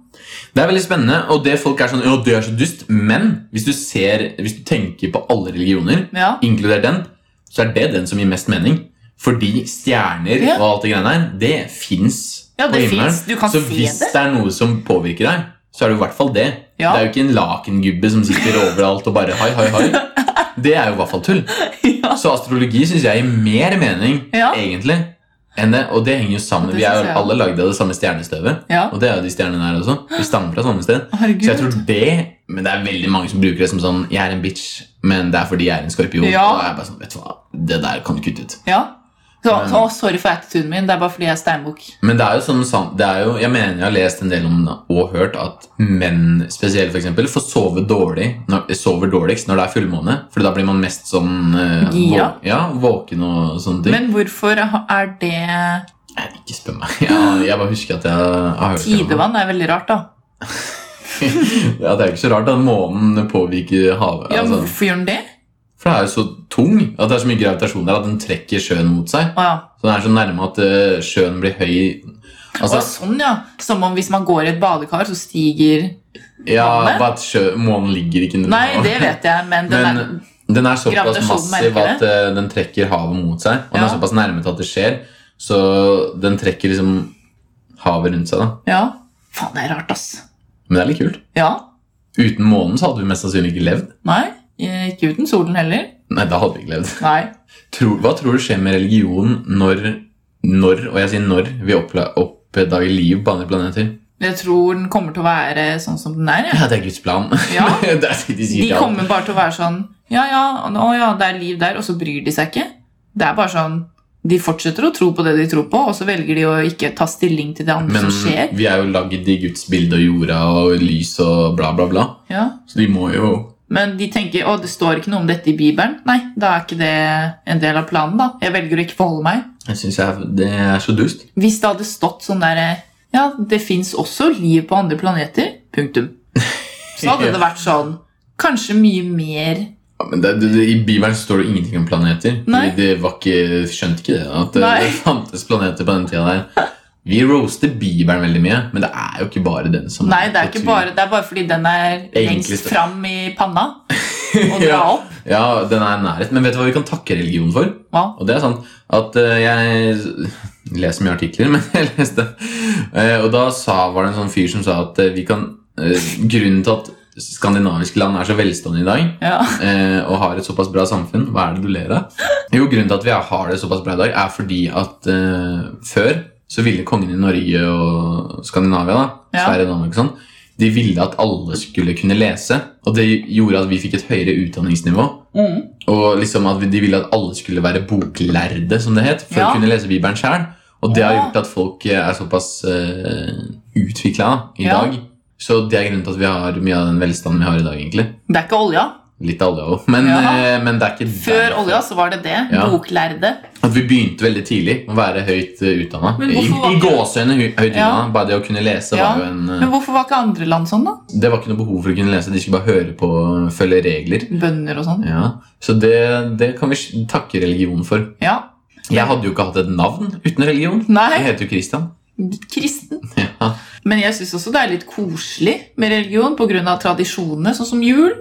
[SPEAKER 1] Det er veldig spennende, og det folk er sånn Ja, det er så dust, men hvis du ser Hvis du tenker på alle religioner,
[SPEAKER 3] Ja.
[SPEAKER 1] inkludert den, så er det den som gir mest mening. Fordi stjerner
[SPEAKER 3] Ja.
[SPEAKER 1] og alt det greiene der, det fins
[SPEAKER 3] Ja, det
[SPEAKER 1] på himmelen.
[SPEAKER 3] finnes. Du kan
[SPEAKER 1] så
[SPEAKER 3] se
[SPEAKER 1] hvis
[SPEAKER 3] det.
[SPEAKER 1] det er noe som påvirker deg, så er det jo i hvert fall det.
[SPEAKER 3] Ja.
[SPEAKER 1] Det er jo ikke en lakengubbe som sitter overalt og bare hai, hai, hai. Det er jo i hvert fall tull.
[SPEAKER 3] ja.
[SPEAKER 1] Så astrologi syns jeg gir mer mening,
[SPEAKER 3] Ja.
[SPEAKER 1] egentlig. Enn det, og det henger jo sammen.
[SPEAKER 3] Det
[SPEAKER 1] Vi er
[SPEAKER 3] synes
[SPEAKER 1] jo
[SPEAKER 3] jeg.
[SPEAKER 1] alle lagd av det samme stjernestøvet.
[SPEAKER 3] ja.
[SPEAKER 1] Og det er jo de stjernene her også. Vi stammer fra samme sted. Så jeg
[SPEAKER 3] Herregud.
[SPEAKER 1] tror det Men det er veldig mange som bruker det som sånn Jeg er en bitch, men det er fordi jeg er en skorpion.
[SPEAKER 3] Ja.
[SPEAKER 1] Og da er jeg bare sånn, vet du hva, det der kan du kutte ut.
[SPEAKER 3] Ja. Så,
[SPEAKER 1] Men-
[SPEAKER 3] så, å, sorry for attituden min. Det er bare fordi jeg er steinbukk.
[SPEAKER 1] Men det er jo sånn, sant- det er jo, jeg mener jeg har lest en del om det, og hørt at menn spesielt for eksempel, får sove dårlig, når, sover dårligst når det er fullmåne. For da blir man mest sånn eh,
[SPEAKER 3] Gira.
[SPEAKER 1] vå- ja, våken og sånne ting.
[SPEAKER 3] Men hvorfor er det
[SPEAKER 1] Nei, ikke spør meg. Jeg, jeg bare husker at jeg har hørt det.
[SPEAKER 3] Tidevann er veldig rart, da.
[SPEAKER 1] Ja, det er jo ikke så rart at månen påvirker havet.
[SPEAKER 3] Ja, men
[SPEAKER 1] altså.
[SPEAKER 3] Hvorfor gjør den det?
[SPEAKER 1] For det er jo så tung at det er så mye gravitasjon der at den trekker sjøen mot seg.
[SPEAKER 3] Å ja.
[SPEAKER 1] Så den er så nærme at eh, sjøen blir høy Altså,
[SPEAKER 3] og sånn, ja. Som om hvis man går i et badekar, så stiger
[SPEAKER 1] ja,
[SPEAKER 3] vannet?
[SPEAKER 1] bare at sjø- månen ligger ikke under
[SPEAKER 3] Nei,
[SPEAKER 1] havet.
[SPEAKER 3] det vet jeg, men den
[SPEAKER 1] Men
[SPEAKER 3] er
[SPEAKER 1] den er såpass
[SPEAKER 3] Gravitasjonen
[SPEAKER 1] massiv
[SPEAKER 3] merker
[SPEAKER 1] at eh, den trekker havet mot seg. Og den er
[SPEAKER 3] Ja.
[SPEAKER 1] såpass nærme til at det skjer, så den trekker liksom havet rundt seg. da
[SPEAKER 3] Ja. Faen, det er rart, ass.
[SPEAKER 1] Men det er litt kult.
[SPEAKER 3] Ja.
[SPEAKER 1] Uten månen så hadde vi mest sannsynlig ikke levd.
[SPEAKER 3] Nei. eh, Ikke uten solen heller.
[SPEAKER 1] Nei, da hadde vi ikke levd.
[SPEAKER 3] Nei.
[SPEAKER 1] Tror, hva tror du skjer med religion når, når og jeg sier når, vi oppla- oppdager liv på andre planeter?
[SPEAKER 3] Jeg tror den kommer til å være sånn som den er. jeg.
[SPEAKER 1] Ja, det er Guds plan.
[SPEAKER 3] Ja.
[SPEAKER 1] det er, de sier
[SPEAKER 3] De
[SPEAKER 1] ikke alt.
[SPEAKER 3] kommer bare til å være sånn Ja, ja, å ja, det er liv der, og så bryr de seg ikke. Det er bare sånn De fortsetter å tro på det de tror på, og så velger de å ikke ta stilling til det andre
[SPEAKER 1] Men
[SPEAKER 3] som skjer.
[SPEAKER 1] vi er jo lagd i Guds bilde og jorda og lys og bla, bla, bla.
[SPEAKER 3] Ja.
[SPEAKER 1] Så de må jo
[SPEAKER 3] Men de tenker å, det står ikke noe om dette i Bibelen. Nei, da er ikke det en del av planen. da. Jeg velger å ikke forholde meg.
[SPEAKER 1] Jeg syns det er så dust.
[SPEAKER 3] Hvis det hadde stått sånn der Ja, det fins også liv på andre planeter. Punktum. Så hadde det vært sånn Kanskje mye mer
[SPEAKER 1] Ja, men det, det, det, I Bibelen så står det ingenting om planeter.
[SPEAKER 3] Nei.
[SPEAKER 1] De var ikke, skjønte ikke det. At det,
[SPEAKER 3] Nei.
[SPEAKER 1] det fantes planeter på den tida der. Vi roaster Bibelen veldig mye, men det er jo ikke bare den som
[SPEAKER 3] Nei, det er
[SPEAKER 1] på
[SPEAKER 3] ikke
[SPEAKER 1] tur.
[SPEAKER 3] bare, det er bare fordi den er lengst
[SPEAKER 1] Enkleste.
[SPEAKER 3] fram i panna. Og dra
[SPEAKER 1] Ja.
[SPEAKER 3] opp.
[SPEAKER 1] Ja, den er nærhet. Men vet du hva vi kan takke religion for?
[SPEAKER 3] Hva?
[SPEAKER 1] Og det er sant at eh, jeg leser mye artikler, men jeg leste Eh, Og da sa, var det en sånn fyr som sa at eh, vi kan eh, Grunnen til at skandinaviske land er så velstående i dag,
[SPEAKER 3] Ja.
[SPEAKER 1] eh, og har et såpass bra samfunn Hva er det du ler av? Jo, grunnen til at vi har det såpass bra i dag, er fordi at eh, før så ville kongen i Norge og Skandinavia, da,
[SPEAKER 3] Ja.
[SPEAKER 1] Sverige og Danmark og sånn, de ville at alle skulle kunne lese. Og det gjorde at vi fikk et høyere utdanningsnivå.
[SPEAKER 3] Mm.
[SPEAKER 1] Og liksom at De ville at alle skulle være boklærde, som det het, for
[SPEAKER 3] Ja.
[SPEAKER 1] å kunne lese Bibelen sjøl. Og det har
[SPEAKER 3] Ja.
[SPEAKER 1] gjort at folk eh, er såpass uh, utvikla i
[SPEAKER 3] Ja.
[SPEAKER 1] dag. Så det er grunnen til at vi har mye av den velstanden vi har i dag. egentlig
[SPEAKER 3] Det er ikke olja.
[SPEAKER 1] Litt av olja òg, men,
[SPEAKER 3] Ja.
[SPEAKER 1] eh, men det er ikke
[SPEAKER 3] Før
[SPEAKER 1] derfor.
[SPEAKER 3] olja så var det det.
[SPEAKER 1] Ja.
[SPEAKER 3] Boklærde.
[SPEAKER 1] At vi begynte veldig tidlig å være høyt utdanna.
[SPEAKER 3] Men
[SPEAKER 1] I,
[SPEAKER 3] hvorfor var
[SPEAKER 1] i
[SPEAKER 3] ikke-
[SPEAKER 1] gåseøyne høyt utdanna.
[SPEAKER 3] Ja.
[SPEAKER 1] Bare det å kunne lese
[SPEAKER 3] Ja.
[SPEAKER 1] var jo en eh,
[SPEAKER 3] Men hvorfor var ikke andre land sånn, da?
[SPEAKER 1] Det var ikke noe behov for å kunne lese, de skulle bare høre på og følge regler.
[SPEAKER 3] Bønder og sånn.
[SPEAKER 1] Ja, Så det, det kan vi s- takke religionen for.
[SPEAKER 3] Ja.
[SPEAKER 1] Jeg hadde jo ikke hatt et navn uten religion. Jeg
[SPEAKER 3] Nei,
[SPEAKER 1] heter jo Christian.
[SPEAKER 3] kristen.
[SPEAKER 1] Ja.
[SPEAKER 3] Men jeg syns også det er litt koselig med religion pga. tradisjonene, sånn som jul.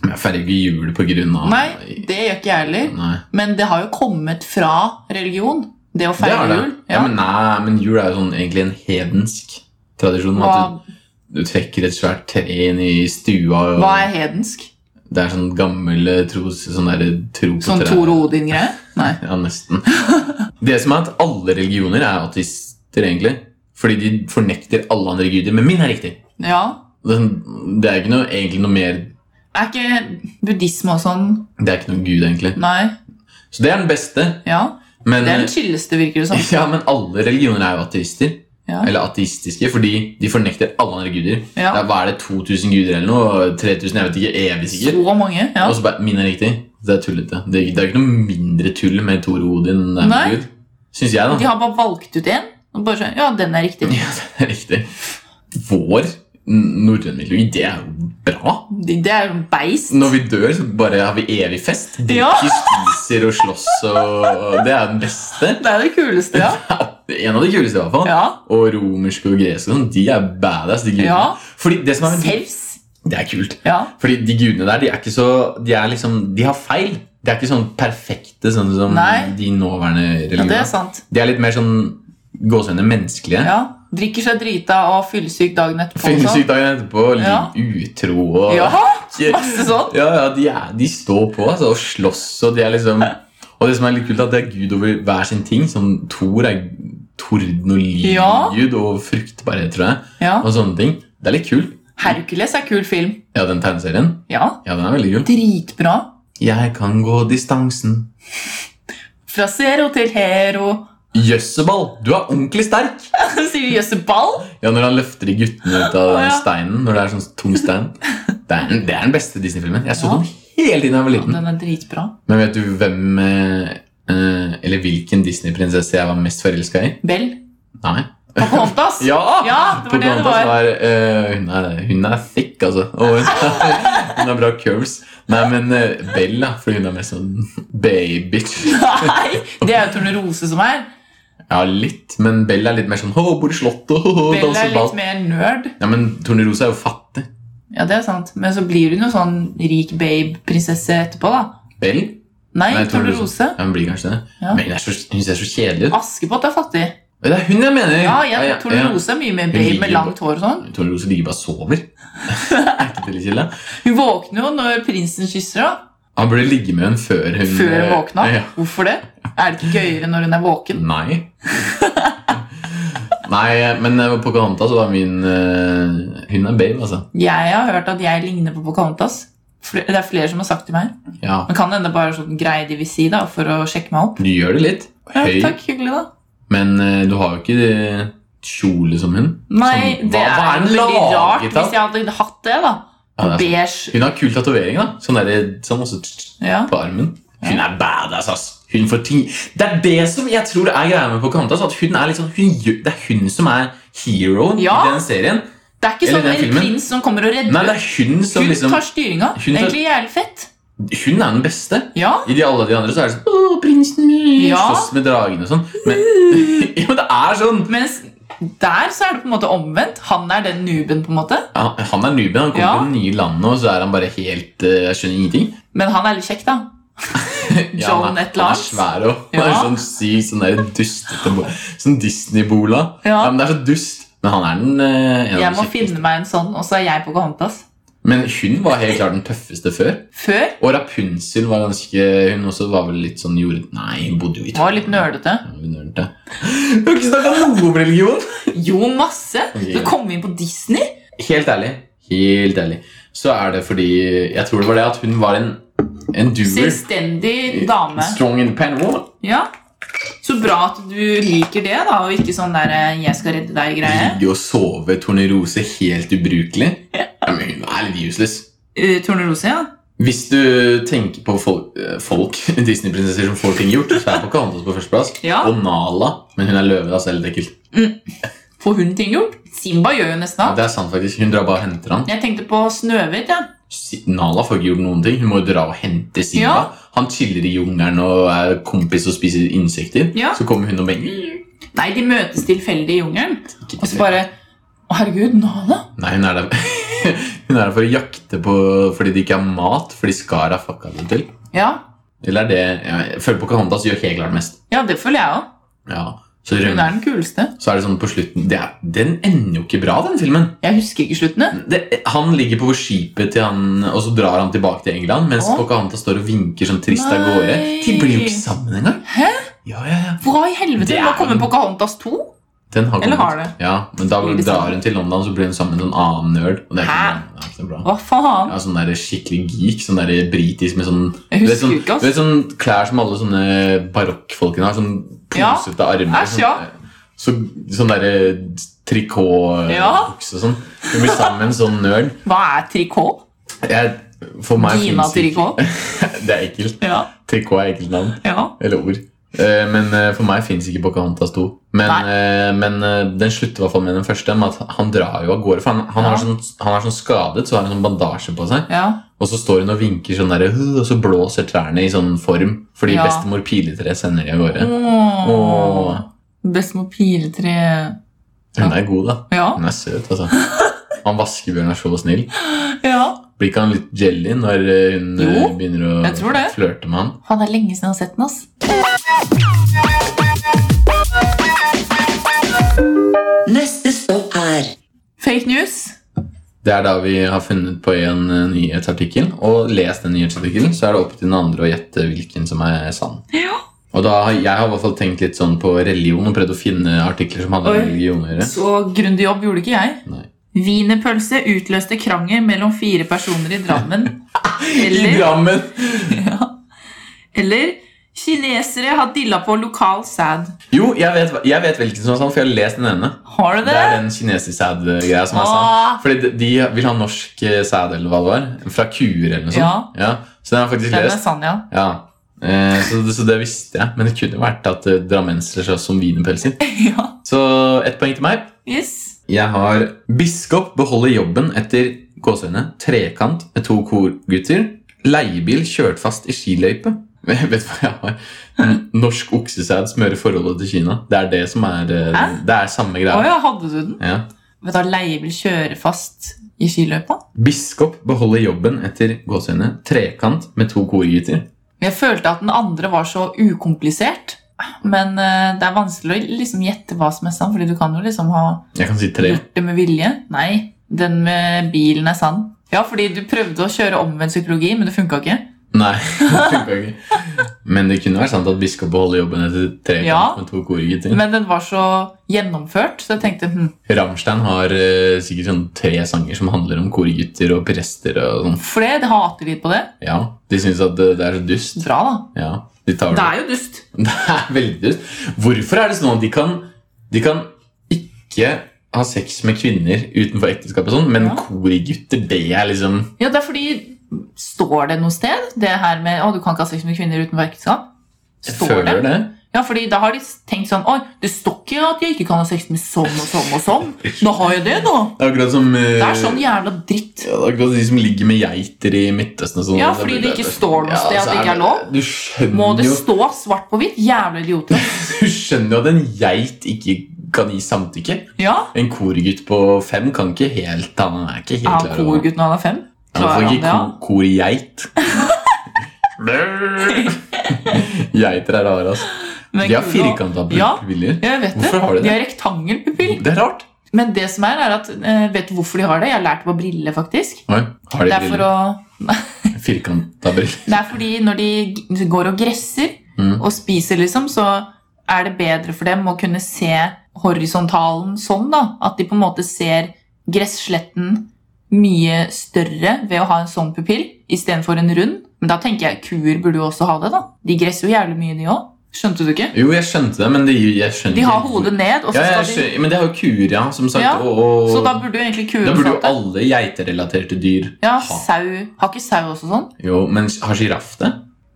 [SPEAKER 1] Men jeg feirer ikke jul på grunn av
[SPEAKER 3] Nei, det gjør ikke jeg heller.
[SPEAKER 1] Nei.
[SPEAKER 3] Men det har jo kommet fra religion, det å
[SPEAKER 1] Det
[SPEAKER 3] feire
[SPEAKER 1] er det.
[SPEAKER 3] jul.
[SPEAKER 1] Ja. men nei, men jul er jo sånn, egentlig en hedensk tradisjon. med At
[SPEAKER 3] hva,
[SPEAKER 1] du, du trekker et svært tre inn i stua. Og
[SPEAKER 3] hva er hedensk?
[SPEAKER 1] Det er sånn gammel eh, tros, sånn der, tro på
[SPEAKER 3] Sånn
[SPEAKER 1] tre.
[SPEAKER 3] Tor og Odin-greie? Nei.
[SPEAKER 1] Ja, nesten. Det som er at alle religioner er ateister, egentlig. Fordi de fornekter alle andre guder. Men min er riktig.
[SPEAKER 3] Ja.
[SPEAKER 1] Det er sånn- det er ikke noe, egentlig noe mer
[SPEAKER 3] Er ikke buddhisme og sånn
[SPEAKER 1] Det er ikke noen gud, egentlig.
[SPEAKER 3] Nei.
[SPEAKER 1] Så det er den beste.
[SPEAKER 3] Ja.
[SPEAKER 1] Men, eh,
[SPEAKER 3] Det er den chilleste, virker det som.
[SPEAKER 1] ja, men alle religioner er jo ateister.
[SPEAKER 3] Ja.
[SPEAKER 1] Eller ateistiske, fordi de fornekter alle andre guder.
[SPEAKER 3] Ja.
[SPEAKER 1] Det er, hva er det, 2000 guder eller noe? 3000? Jeg vet ikke. Evig sikkert.
[SPEAKER 3] Så mange. Ja.
[SPEAKER 1] Og så bare Min er riktig. Det er tullete. Det er, det er ikke noe mindre tull med Thor og Odin enn det er
[SPEAKER 3] Nei.
[SPEAKER 1] med Gud. Syns jeg, da.
[SPEAKER 3] De har bare valgt ut én. Og bare sånn, ja, den er riktig.
[SPEAKER 1] Ja, det er riktig. Vår n- norrøn mytologi, det er jo bra.
[SPEAKER 3] Det det er jo en beist.
[SPEAKER 1] Når vi dør, så bare har vi evig fest. Drikker,
[SPEAKER 3] Ja.
[SPEAKER 1] spiser og slåss. Og og det er den beste.
[SPEAKER 3] Det er det kuleste, ja.
[SPEAKER 1] En av de kuleste, i hvert fall.
[SPEAKER 3] ja.
[SPEAKER 1] Og romerske og greske og sånn, de er badass, de gudene.
[SPEAKER 3] Ja.
[SPEAKER 1] Fordi det som er
[SPEAKER 3] Sevs.
[SPEAKER 1] Det er kult.
[SPEAKER 3] Ja.
[SPEAKER 1] Fordi de gudene der, de er ikke så De er liksom, de har feil. De er ikke sånn perfekte, sånn som
[SPEAKER 3] Nei.
[SPEAKER 1] de nåværende
[SPEAKER 3] ja, det
[SPEAKER 1] religionene.
[SPEAKER 3] er sant.
[SPEAKER 1] de er litt mer sånn gåsehudene menneskelige.
[SPEAKER 3] Ja. Drikker seg drita og fyllesyk dagen etterpå. og sånn.
[SPEAKER 1] Fyllesyk dagen etterpå, litt
[SPEAKER 3] Ja.
[SPEAKER 1] utro og
[SPEAKER 3] Ja, masse sånn.
[SPEAKER 1] Ja, ja, de, er, de står på altså, og slåss, og de er liksom Og det som er litt kult, er at det er gud over hver sin ting. Som Thor er torden og lyd
[SPEAKER 3] Ja.
[SPEAKER 1] og fruktbarhet, tror jeg.
[SPEAKER 3] Ja.
[SPEAKER 1] Og sånne ting. Det er litt kult.
[SPEAKER 3] Hercules er kul film.
[SPEAKER 1] Ja, den tegneserien.
[SPEAKER 3] Ja.
[SPEAKER 1] Ja, den er veldig kul.
[SPEAKER 3] Dritbra.
[SPEAKER 1] Jeg kan gå distansen.
[SPEAKER 3] Fra zero til hero.
[SPEAKER 1] Jøsseball, du er ordentlig sterk!
[SPEAKER 3] Sier du jøsse ball?
[SPEAKER 1] Ja, Når han løfter de guttene ut av
[SPEAKER 3] Å, ja.
[SPEAKER 1] steinen. Når det er sånn tung stein. Det er, den- det er den beste Disney-filmen. Jeg så
[SPEAKER 3] Ja.
[SPEAKER 1] den hele tiden jeg var
[SPEAKER 3] Ja,
[SPEAKER 1] liten.
[SPEAKER 3] den er dritbra.
[SPEAKER 1] Men vet du hvem eh, eh, Eller hvilken Disney-prinsesse jeg var mest forelska i?
[SPEAKER 3] Bell.
[SPEAKER 1] Nei.
[SPEAKER 3] Pocahontas.
[SPEAKER 1] Ja!
[SPEAKER 3] Ja, det var det det
[SPEAKER 1] Pocahontas
[SPEAKER 3] var.
[SPEAKER 1] var, eh, hun, er, hun er thick, altså. Og hun har, hun har bra curves. Nei, men eh, Bell, da. For hun er mer sånn baby.
[SPEAKER 3] Nei, det er jo Tornerose som er.
[SPEAKER 1] Ja, litt, men Bell er litt mer sånn Å, bor i Slottet, ho, ho,
[SPEAKER 3] Bell er
[SPEAKER 1] danser
[SPEAKER 3] litt
[SPEAKER 1] ball.
[SPEAKER 3] mer nerd.
[SPEAKER 1] Ja, men Tornerose er jo fattig.
[SPEAKER 3] Ja, det er sant. Men så blir hun jo sånn rik babe-prinsesse etterpå, da.
[SPEAKER 1] Bell?
[SPEAKER 3] Nei,
[SPEAKER 1] Nei, Tornerose.
[SPEAKER 3] Tornerose.
[SPEAKER 1] Ja, hun blir kanskje det.
[SPEAKER 3] Ja.
[SPEAKER 1] Men hun, er så, hun ser så kjedelig ut.
[SPEAKER 3] Askepott er fattig.
[SPEAKER 1] Det er hun jeg mener!
[SPEAKER 3] Ja, jeg tror Tornerose er mye mer babe
[SPEAKER 1] ligger
[SPEAKER 3] med
[SPEAKER 1] jo
[SPEAKER 3] langt hår og sånn.
[SPEAKER 1] Tornerose ligger bare og sover. Er ikke det litt kjedelig?
[SPEAKER 3] Hun våkner jo når prinsen kysser, da.
[SPEAKER 1] Han burde ligge med henne før hun eh,
[SPEAKER 3] Før hun våkna.
[SPEAKER 1] Ja.
[SPEAKER 3] Hvorfor det? Er det ikke gøyere når hun er våken?
[SPEAKER 1] Nei. Nei, men eh, Pocahontas var min eh, Hun er babe, altså.
[SPEAKER 3] Jeg har hørt at jeg ligner på Pocahontas. Fle- Det er flere som har sagt til meg.
[SPEAKER 1] Ja.
[SPEAKER 3] Men kan hende bare sånn greie de vil si, da, for å sjekke meg opp.
[SPEAKER 1] Du gjør det litt
[SPEAKER 3] Ja,
[SPEAKER 1] høy,
[SPEAKER 3] takk, hyggelig, da.
[SPEAKER 1] men eh, du har jo ikke eh, kjole som hun.
[SPEAKER 3] Nei,
[SPEAKER 1] Som-
[SPEAKER 3] det
[SPEAKER 1] hva- hva
[SPEAKER 3] er
[SPEAKER 1] er den
[SPEAKER 3] jo veldig rart
[SPEAKER 1] laget av?
[SPEAKER 3] hvis jeg hadde hatt det, da.
[SPEAKER 1] Ja, det er
[SPEAKER 3] Beige.
[SPEAKER 1] Hun har kul tatovering, da. Sånn der, sånn også tsk, tsk,
[SPEAKER 3] Ja.
[SPEAKER 1] på armen. Hun er badass, ass. Hun får ting Det er det som jeg tror er greia med Pocahontas. At hun er liksom, hun, gjør- det er hun som er heroen
[SPEAKER 3] Ja.
[SPEAKER 1] i den serien.
[SPEAKER 3] Det er ikke
[SPEAKER 1] Eller
[SPEAKER 3] sånn
[SPEAKER 1] den
[SPEAKER 3] en
[SPEAKER 1] filmen.
[SPEAKER 3] prins som kommer og redder.
[SPEAKER 1] Nei, det er hun som
[SPEAKER 3] hun
[SPEAKER 1] liksom
[SPEAKER 3] tar styringa.
[SPEAKER 1] hun tar-
[SPEAKER 3] Egentlig jævlig fett.
[SPEAKER 1] Hun er den beste.
[SPEAKER 3] Ja.
[SPEAKER 1] I de, alle de andre så er det sånn Åh, prinsen min!
[SPEAKER 3] Ja.
[SPEAKER 1] Slåss med dragene og sånn. Men, ja, men det er sånn!
[SPEAKER 3] Mens der så er det på en måte omvendt. Han er den nuben, på en måte.
[SPEAKER 1] Han, han er nubien. Han kommer
[SPEAKER 3] Ja.
[SPEAKER 1] til det nye landet, og så er han bare helt eh, Jeg skjønner ingenting.
[SPEAKER 3] Men han er litt kjekk, da.
[SPEAKER 1] Ja, han
[SPEAKER 3] John
[SPEAKER 1] er-
[SPEAKER 3] et eller annet.
[SPEAKER 1] Han er svær og han er
[SPEAKER 3] Ja.
[SPEAKER 1] sånn syk, sånn der dustete bo- Sånn Disney-bola.
[SPEAKER 3] Ja.
[SPEAKER 1] men det er så dust. Men han er den eh, en av
[SPEAKER 3] Jeg
[SPEAKER 1] de
[SPEAKER 3] må
[SPEAKER 1] kjekkeste.
[SPEAKER 3] finne meg en sånn, og så er jeg Pocahontas.
[SPEAKER 1] Men hun var helt klart den tøffeste før.
[SPEAKER 3] Før
[SPEAKER 1] Og Rapunzel var ganske Hun også var vel litt sånn jord... Nei, hun bodde jo i
[SPEAKER 3] var litt nerdete.
[SPEAKER 1] Ja, hun var nerdete. Du har ikke snakka noe om religion!
[SPEAKER 3] Jo, masse!
[SPEAKER 1] Ok.
[SPEAKER 3] Du kom inn på Disney.
[SPEAKER 1] Helt ærlig, helt ærlig Så er det fordi Jeg tror det var det at hun var en, en doer
[SPEAKER 3] Selvstendig dame.
[SPEAKER 1] Strong independent woman
[SPEAKER 3] Ja. Så bra at du liker det, da, og ikke sånn der eh, 'jeg skal redde deg'-greie.
[SPEAKER 1] Ligge og sove Tornerose helt ubrukelig ja, men Hun er litt useless
[SPEAKER 3] Eh, Tornerose, ja.
[SPEAKER 1] Hvis du tenker på folk, eh, folk Disney-prinsesser som får ting gjort Så er Pocahontas på første plass
[SPEAKER 3] Ja.
[SPEAKER 1] Og Nala Men hun er løve da, så det er litt ekkelt
[SPEAKER 3] Får hun ting gjort? Simba gjør jo nesten
[SPEAKER 1] ja,
[SPEAKER 3] alt.
[SPEAKER 1] Det er sant faktisk Hun drar bare og henter han
[SPEAKER 3] Jeg tenkte på Snøhvit, ja.
[SPEAKER 1] Si- Nala får ikke gjort noen ting Hun må jo dra og hente Simba
[SPEAKER 3] Ja.
[SPEAKER 1] Han chiller i jungelen og er kompis og spiser insekter
[SPEAKER 3] Ja.
[SPEAKER 1] Så kommer hun og "Mm." mener
[SPEAKER 3] Nei, de møtes tilfeldig i jungelen.
[SPEAKER 1] Ikke
[SPEAKER 3] Og så bare Å, herregud, Nala!
[SPEAKER 1] Nei, hun er der Hun er der for å jakte på fordi det ikke er mat, fordi Skar har fucka det til.
[SPEAKER 3] Ja,
[SPEAKER 1] Eller er det Jeg føler Pocahontas gjør helt klart mest.
[SPEAKER 3] ja det føler jeg òg.
[SPEAKER 1] Ja. Så,
[SPEAKER 3] Hun
[SPEAKER 1] rømmer,
[SPEAKER 3] er den kuleste.
[SPEAKER 1] så er det sånn på slutten det er, Den ender jo ikke bra, den filmen.
[SPEAKER 3] Jeg husker ikke sluttene.
[SPEAKER 1] Det, han ligger på skipet til han, og så drar han tilbake til England, mens
[SPEAKER 3] Åh.
[SPEAKER 1] Pocahontas står og vinker sånn trist av
[SPEAKER 3] Nei.
[SPEAKER 1] gårde. De blir jo ikke sammen engang.
[SPEAKER 3] Hæ?
[SPEAKER 1] Ja, ja, ja.
[SPEAKER 3] Hva i helvete?
[SPEAKER 1] Det er
[SPEAKER 3] Nå kommer
[SPEAKER 1] den-
[SPEAKER 3] Pocahontas 2?
[SPEAKER 1] Den har
[SPEAKER 3] Eller
[SPEAKER 1] kommet.
[SPEAKER 3] har det.
[SPEAKER 1] Ja, men da
[SPEAKER 3] Blir de
[SPEAKER 1] drar
[SPEAKER 3] sammen?
[SPEAKER 1] hun til London, så blir hun sammen med en annen nerd. Og det er ikke,
[SPEAKER 3] Hæ?
[SPEAKER 1] bra. Det er ikke bra.
[SPEAKER 3] Hva faen?
[SPEAKER 1] Ja, sånn der skikkelig geek, sånn der britisk med sånn
[SPEAKER 3] Jeg
[SPEAKER 1] Du
[SPEAKER 3] husker
[SPEAKER 1] vet, sånn,
[SPEAKER 3] ikke, ass.
[SPEAKER 1] du vet sånn klær som alle sånne barokkfolkene har? Sånn
[SPEAKER 3] Ja.
[SPEAKER 1] posete armer.
[SPEAKER 3] Æsj, ja.
[SPEAKER 1] Så, sånn derre trikotbukse
[SPEAKER 3] Ja.
[SPEAKER 1] og sånn. Hun blir sammen med en sånn nerd.
[SPEAKER 3] Hva er trikot?
[SPEAKER 1] Jeg, for meg
[SPEAKER 3] Gina
[SPEAKER 1] finnes ikke-
[SPEAKER 3] trikot?
[SPEAKER 1] Det er ekkelt.
[SPEAKER 3] Ja.
[SPEAKER 1] Trikot er ekkelt navn.
[SPEAKER 3] ja.
[SPEAKER 1] Eller ord. Eh, Men eh, for meg fins ikke Pocahontas 2. Men,
[SPEAKER 3] Nei.
[SPEAKER 1] eh, men eh, den slutter i hvert fall med den første. Med at han drar jo av gårde. For han, han,
[SPEAKER 3] Ja.
[SPEAKER 1] har sånn, han er sånn skadet, så har han sånn bandasje på seg.
[SPEAKER 3] ja.
[SPEAKER 1] Og så står hun og vinker sånn der, «Hu», og så blåser trærne i sånn form. Fordi
[SPEAKER 3] Ja.
[SPEAKER 1] bestemor piletre sender de av gårde.
[SPEAKER 3] Åh.
[SPEAKER 1] Åh.
[SPEAKER 3] Bestemor piletre
[SPEAKER 1] Hun er god, da.
[SPEAKER 3] Ja.
[SPEAKER 1] Hun er søt, altså. Han vaskebjørn er så snill.
[SPEAKER 3] ja.
[SPEAKER 1] Blir ikke han litt jelly når eh, hun
[SPEAKER 3] Jo,
[SPEAKER 1] eh, begynner
[SPEAKER 3] jeg tror
[SPEAKER 1] å
[SPEAKER 3] det.
[SPEAKER 1] flørte med han?
[SPEAKER 3] Faen, det er lenge siden jeg har sett den, ass.
[SPEAKER 2] Neste stopp er
[SPEAKER 3] Fake news.
[SPEAKER 1] Det er da vi har funnet på en eh, nyhetsartikkel, og lest den nyhetsartikkelen, så er det opp til den andre å gjette hvilken som er sann.
[SPEAKER 3] Ja.
[SPEAKER 1] Og da har jeg har i hvert fall tenkt litt sånn på religion, og prøvd å finne artikler som hadde
[SPEAKER 3] Oi.
[SPEAKER 1] med religion å gjøre.
[SPEAKER 3] Så grundig jobb gjorde ikke jeg.
[SPEAKER 1] Nei.
[SPEAKER 3] Wienerpølse utløste krangel mellom fire personer i Drammen.
[SPEAKER 1] I
[SPEAKER 3] Eller,
[SPEAKER 1] Drammen!
[SPEAKER 3] eller kinesere har dilla på lokal sæd.
[SPEAKER 1] Jo, jeg vet, hva- jeg vet hvilken som er sann, for jeg har lest den ene.
[SPEAKER 3] Har du det?
[SPEAKER 1] Det er den kinesisk sæd-greia som er
[SPEAKER 3] Ah.
[SPEAKER 1] sann. Fordi de- de vil ha norsk eh, sæd, eller hva det var. Fra kuer eller noe sånt. Ja. Så den har jeg faktisk
[SPEAKER 3] Den er
[SPEAKER 1] lest.
[SPEAKER 3] sann, ja.
[SPEAKER 1] Ja. Eh, så, så det visste jeg. Men det kunne jo vært at eh, drammensere slåss om wienerpølser.
[SPEAKER 3] ja.
[SPEAKER 1] Så ett poeng til meg.
[SPEAKER 3] Yes.
[SPEAKER 1] Jeg har biskop beholder jobben etter gåsehudene. Trekant med to korgutter. Leiebil kjørt fast i skiløype. Vet du hva jeg har? N- Norsk oksesæd smører forholdet til Kina. Det er det som er eh,
[SPEAKER 3] Hæ?
[SPEAKER 1] Det er samme
[SPEAKER 3] Å
[SPEAKER 1] greia.
[SPEAKER 3] ja, hadde du den?
[SPEAKER 1] Ja.
[SPEAKER 3] Vet du, Leiebil kjører fast i skiløypa.
[SPEAKER 1] Biskop beholder jobben etter gåseøyne. Trekant med to korgiter.
[SPEAKER 3] Jeg følte at den andre var så ukomplisert. Men eh, det er vanskelig å liksom gjette hva som er sant, fordi du kan jo liksom ha
[SPEAKER 1] Jeg kan si tre.
[SPEAKER 3] gjort det med vilje. Nei, den med bilen er sann. Ja, fordi du prøvde å kjøre omvendt psykologi, men det funka ikke.
[SPEAKER 1] Nei, det funka ikke. Men det kunne vært sant at biskop beholder jobben etter trekant
[SPEAKER 3] Ja.
[SPEAKER 1] med to korgiter.
[SPEAKER 3] Men den var så gjennomført, så jeg tenkte hm,
[SPEAKER 1] Rammstein har eh, sikkert sånn tre sanger som handler om korgutter og prester og sånn.
[SPEAKER 3] For det, det hater litt på det.
[SPEAKER 1] Ja, De syns at det, det er så dust.
[SPEAKER 3] Bra, da.
[SPEAKER 1] Ja, de tar
[SPEAKER 3] Det er jo dust.
[SPEAKER 1] Det er veldig dust. Hvorfor er det sånn at de kan, de kan ikke ha sex med kvinner utenfor ekteskap og sånn, men
[SPEAKER 3] Ja.
[SPEAKER 1] korigutter, det er liksom
[SPEAKER 3] Ja, det er fordi Står det noe sted, det her med å, du kan ikke ha sex med kvinner uten verkskap?
[SPEAKER 1] Jeg
[SPEAKER 3] Står det?
[SPEAKER 1] føler det.
[SPEAKER 3] Ja, fordi da har de tenkt sånn Oi, det står ikke at jeg ikke kan ha sex med sånn og sånn og sånn. Nå har jeg det, nå!
[SPEAKER 1] Det er akkurat som eh,
[SPEAKER 3] Det er sånn jævla dritt.
[SPEAKER 1] ja, det er akkurat de som ligger med geiter i Midtøsten og sånn.
[SPEAKER 3] Ja, fordi det ikke står noe sted at
[SPEAKER 1] så
[SPEAKER 3] det ikke er lov.
[SPEAKER 1] Du skjønner,
[SPEAKER 3] Må det
[SPEAKER 1] jo,
[SPEAKER 3] stå svart på hvitt? Jævla idioter.
[SPEAKER 1] du skjønner jo at en geit ikke kan gi samtykke.
[SPEAKER 3] Ja.
[SPEAKER 1] En korgutt på fem kan ikke helt Han er ikke helt
[SPEAKER 3] Er
[SPEAKER 1] klar
[SPEAKER 3] han korgutt når han er fem?
[SPEAKER 1] Han
[SPEAKER 3] Klarer
[SPEAKER 1] får
[SPEAKER 3] han det,
[SPEAKER 1] ikke
[SPEAKER 3] ja?
[SPEAKER 1] ko- korgeit. Geiter er rare, altså.
[SPEAKER 3] Men
[SPEAKER 1] De har
[SPEAKER 3] kul, da.
[SPEAKER 1] firkanta
[SPEAKER 3] Ja,
[SPEAKER 1] pupiller.
[SPEAKER 3] jeg vet det.
[SPEAKER 1] Hvorfor har de
[SPEAKER 3] De
[SPEAKER 1] det?
[SPEAKER 3] har rektangelpupill.
[SPEAKER 1] Det er rart.
[SPEAKER 3] Men det som er, er at eh, Vet du hvorfor de har det? Jeg har lært det på briller, faktisk.
[SPEAKER 1] Oi, har
[SPEAKER 3] Det
[SPEAKER 1] de
[SPEAKER 3] er for
[SPEAKER 1] briller?
[SPEAKER 3] å
[SPEAKER 1] Firkanta briller.
[SPEAKER 3] Det er fordi når de g- går og gresser
[SPEAKER 1] Mm.
[SPEAKER 3] og spiser, liksom, så er det bedre for dem å kunne se horisontalen sånn, da. At de på en måte ser gressletten mye større ved å ha en sånn pupill istedenfor en rund. Men da tenker jeg kuer burde jo også ha det, da. De gresser jo jævlig mye, de òg. Skjønte du ikke?
[SPEAKER 1] Jo, jeg skjønte det, men det, jeg skjønner
[SPEAKER 3] De har
[SPEAKER 1] ikke hvor-
[SPEAKER 3] hodet ned, og så
[SPEAKER 1] ja, jeg
[SPEAKER 3] skal de
[SPEAKER 1] skjønner, Men det har jo kuer, ja, som sagt.
[SPEAKER 3] Ja,
[SPEAKER 1] og, og,
[SPEAKER 3] Så da burde jo egentlig
[SPEAKER 1] da
[SPEAKER 3] kuer
[SPEAKER 1] burde jo
[SPEAKER 3] fått det.
[SPEAKER 1] alle geiterelaterte dyr
[SPEAKER 3] Ja,
[SPEAKER 1] ha
[SPEAKER 3] sau. Har ikke sau også sånn?
[SPEAKER 1] Jo, men har sjiraff det?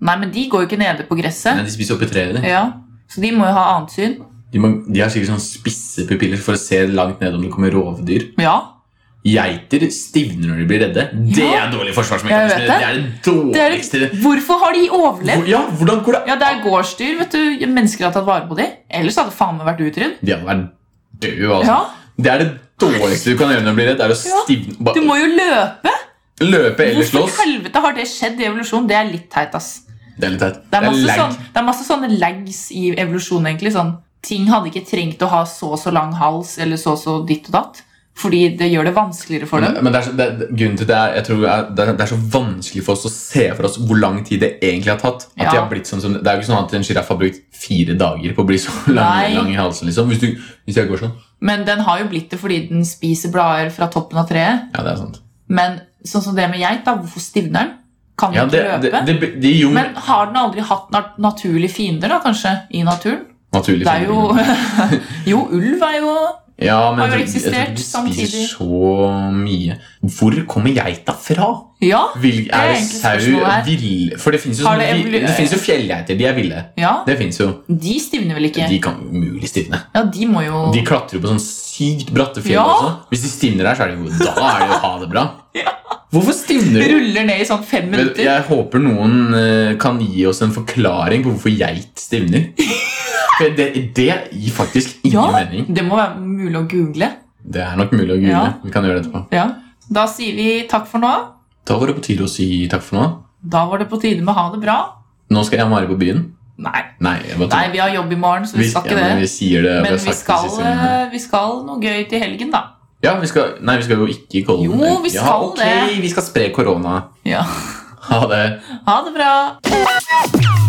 [SPEAKER 3] Nei, men de går jo ikke nede på
[SPEAKER 1] Nei,
[SPEAKER 3] gresset.
[SPEAKER 1] de spiser oppi treet. de.
[SPEAKER 3] Ja, Så de må jo ha annet syn.
[SPEAKER 1] De, må, de har sikkert sånn spisse pupiller for å se langt ned om det kommer rovdyr.
[SPEAKER 3] Ja,
[SPEAKER 1] Geiter stivner når de blir redde. Det
[SPEAKER 3] Ja.
[SPEAKER 1] er dårlig forsvarsmekanisme.
[SPEAKER 3] Jeg vet
[SPEAKER 1] Det.
[SPEAKER 3] det.
[SPEAKER 1] er det
[SPEAKER 3] Det er,
[SPEAKER 1] dårligste
[SPEAKER 3] hvorfor har de overlevd?
[SPEAKER 1] Hvor- Ja, hvordan går det
[SPEAKER 3] Ja, Det er gårdsdyr. vet du Mennesker har tatt vare på dem. Ellers hadde faen meg vært utrydd.
[SPEAKER 1] De hadde vært døde, altså.
[SPEAKER 3] Ja,
[SPEAKER 1] Det er det dårligste du kan gjøre når du blir redd. Det er å
[SPEAKER 3] Ja.
[SPEAKER 1] stivne
[SPEAKER 3] Du
[SPEAKER 1] bare
[SPEAKER 3] må jo løpe!
[SPEAKER 1] Løpe eller
[SPEAKER 3] Hvorfor
[SPEAKER 1] slåss.
[SPEAKER 3] i helvete har det skjedd i evolusjon? Det er litt teit, ass.
[SPEAKER 1] Det er litt teit.
[SPEAKER 3] Det er masse,
[SPEAKER 1] lag.
[SPEAKER 3] sånn, det er masse sånne lags i evolusjon, egentlig. Sånn, ting hadde ikke trengt å ha så og så lang hals eller så og så ditt og datt. Fordi det gjør det vanskeligere for dem.
[SPEAKER 1] Men, men det er, så- det, det- grunnen til det er, jeg tror det er, det er- det er så vanskelig for oss å se for oss hvor lang tid det egentlig har tatt. At
[SPEAKER 3] Ja.
[SPEAKER 1] de har blitt sånn, som- det er jo ikke sånn at en sjiraff har brukt fire dager på å bli så lang,
[SPEAKER 3] Nei.
[SPEAKER 1] lang i halsen. Liksom. Hvis, du, hvis jeg går sånn.
[SPEAKER 3] Men den har jo blitt det fordi den spiser blader fra toppen av treet.
[SPEAKER 1] Ja, det er sant.
[SPEAKER 3] Men sånn som det med geit, da. Hvorfor stivner den? Kan den
[SPEAKER 1] Ja, det,
[SPEAKER 3] ikke
[SPEAKER 1] det,
[SPEAKER 3] løpe?
[SPEAKER 1] det, det, det gir jo
[SPEAKER 3] Men har den aldri hatt nat naturlige fiender, da, kanskje? I naturen?
[SPEAKER 1] naturlig
[SPEAKER 3] Det er jo
[SPEAKER 1] fenomen.
[SPEAKER 3] Jo, ulv er jo
[SPEAKER 1] ja, men
[SPEAKER 3] har jo
[SPEAKER 1] jeg tror- jeg tror
[SPEAKER 3] eksistert
[SPEAKER 1] ikke de spiser
[SPEAKER 3] samtidig.
[SPEAKER 1] så mye. Hvor kommer geita fra?
[SPEAKER 3] Ja,
[SPEAKER 1] Vil,
[SPEAKER 3] er
[SPEAKER 1] er det
[SPEAKER 3] egentlig
[SPEAKER 1] sau
[SPEAKER 3] spørsmålet her.
[SPEAKER 1] vill... For det fins jo,
[SPEAKER 3] Har
[SPEAKER 1] sånne
[SPEAKER 3] det
[SPEAKER 1] vi-
[SPEAKER 3] evolu-
[SPEAKER 1] det finnes jo fjellgeiter. De er ville.
[SPEAKER 3] ja.
[SPEAKER 1] Det fins jo.
[SPEAKER 3] De stivner vel ikke?
[SPEAKER 1] De kan umulig stivne.
[SPEAKER 3] Ja, de må jo
[SPEAKER 1] De klatrer jo på sånn sykt bratte fjell
[SPEAKER 3] Ja.
[SPEAKER 1] også. Hvis de stivner der, så er det jo Da er det jo ha det bra. Hvorfor stivner du?
[SPEAKER 3] ruller ned i sånn fem
[SPEAKER 1] Men
[SPEAKER 3] minutter.
[SPEAKER 1] Jeg håper noen eh, kan gi oss en forklaring på hvorfor geit stivner. For det, det gir faktisk ingen
[SPEAKER 3] Ja.
[SPEAKER 1] mening.
[SPEAKER 3] Det må være mulig å google.
[SPEAKER 1] Det er nok mulig å google.
[SPEAKER 3] Ja.
[SPEAKER 1] Vi kan gjøre det etterpå.
[SPEAKER 3] Ja. Da sier vi takk for nå.
[SPEAKER 1] Da var det på tide å si takk for nå.
[SPEAKER 3] Da var det på tide med ha det bra.
[SPEAKER 1] Nå skal jeg og Mari på byen.
[SPEAKER 3] Nei,
[SPEAKER 1] Nei, jeg bare
[SPEAKER 3] Nei
[SPEAKER 1] tuller.
[SPEAKER 3] vi har jobb i morgen, så vi skal ikke
[SPEAKER 1] ja, men
[SPEAKER 3] det.
[SPEAKER 1] vi sier det.
[SPEAKER 3] Men
[SPEAKER 1] har
[SPEAKER 3] vi
[SPEAKER 1] sagt det
[SPEAKER 3] skal,
[SPEAKER 1] siste gangen.
[SPEAKER 3] eh, vi skal noe gøy til helgen, da.
[SPEAKER 1] Ja, vi skal, nei, vi skal jo ikke i Kollen.
[SPEAKER 3] Jo, vi
[SPEAKER 1] ja,
[SPEAKER 3] skal
[SPEAKER 1] ok, Vi skal spre korona.
[SPEAKER 3] Ja.
[SPEAKER 1] Ha det.
[SPEAKER 3] Ha det bra.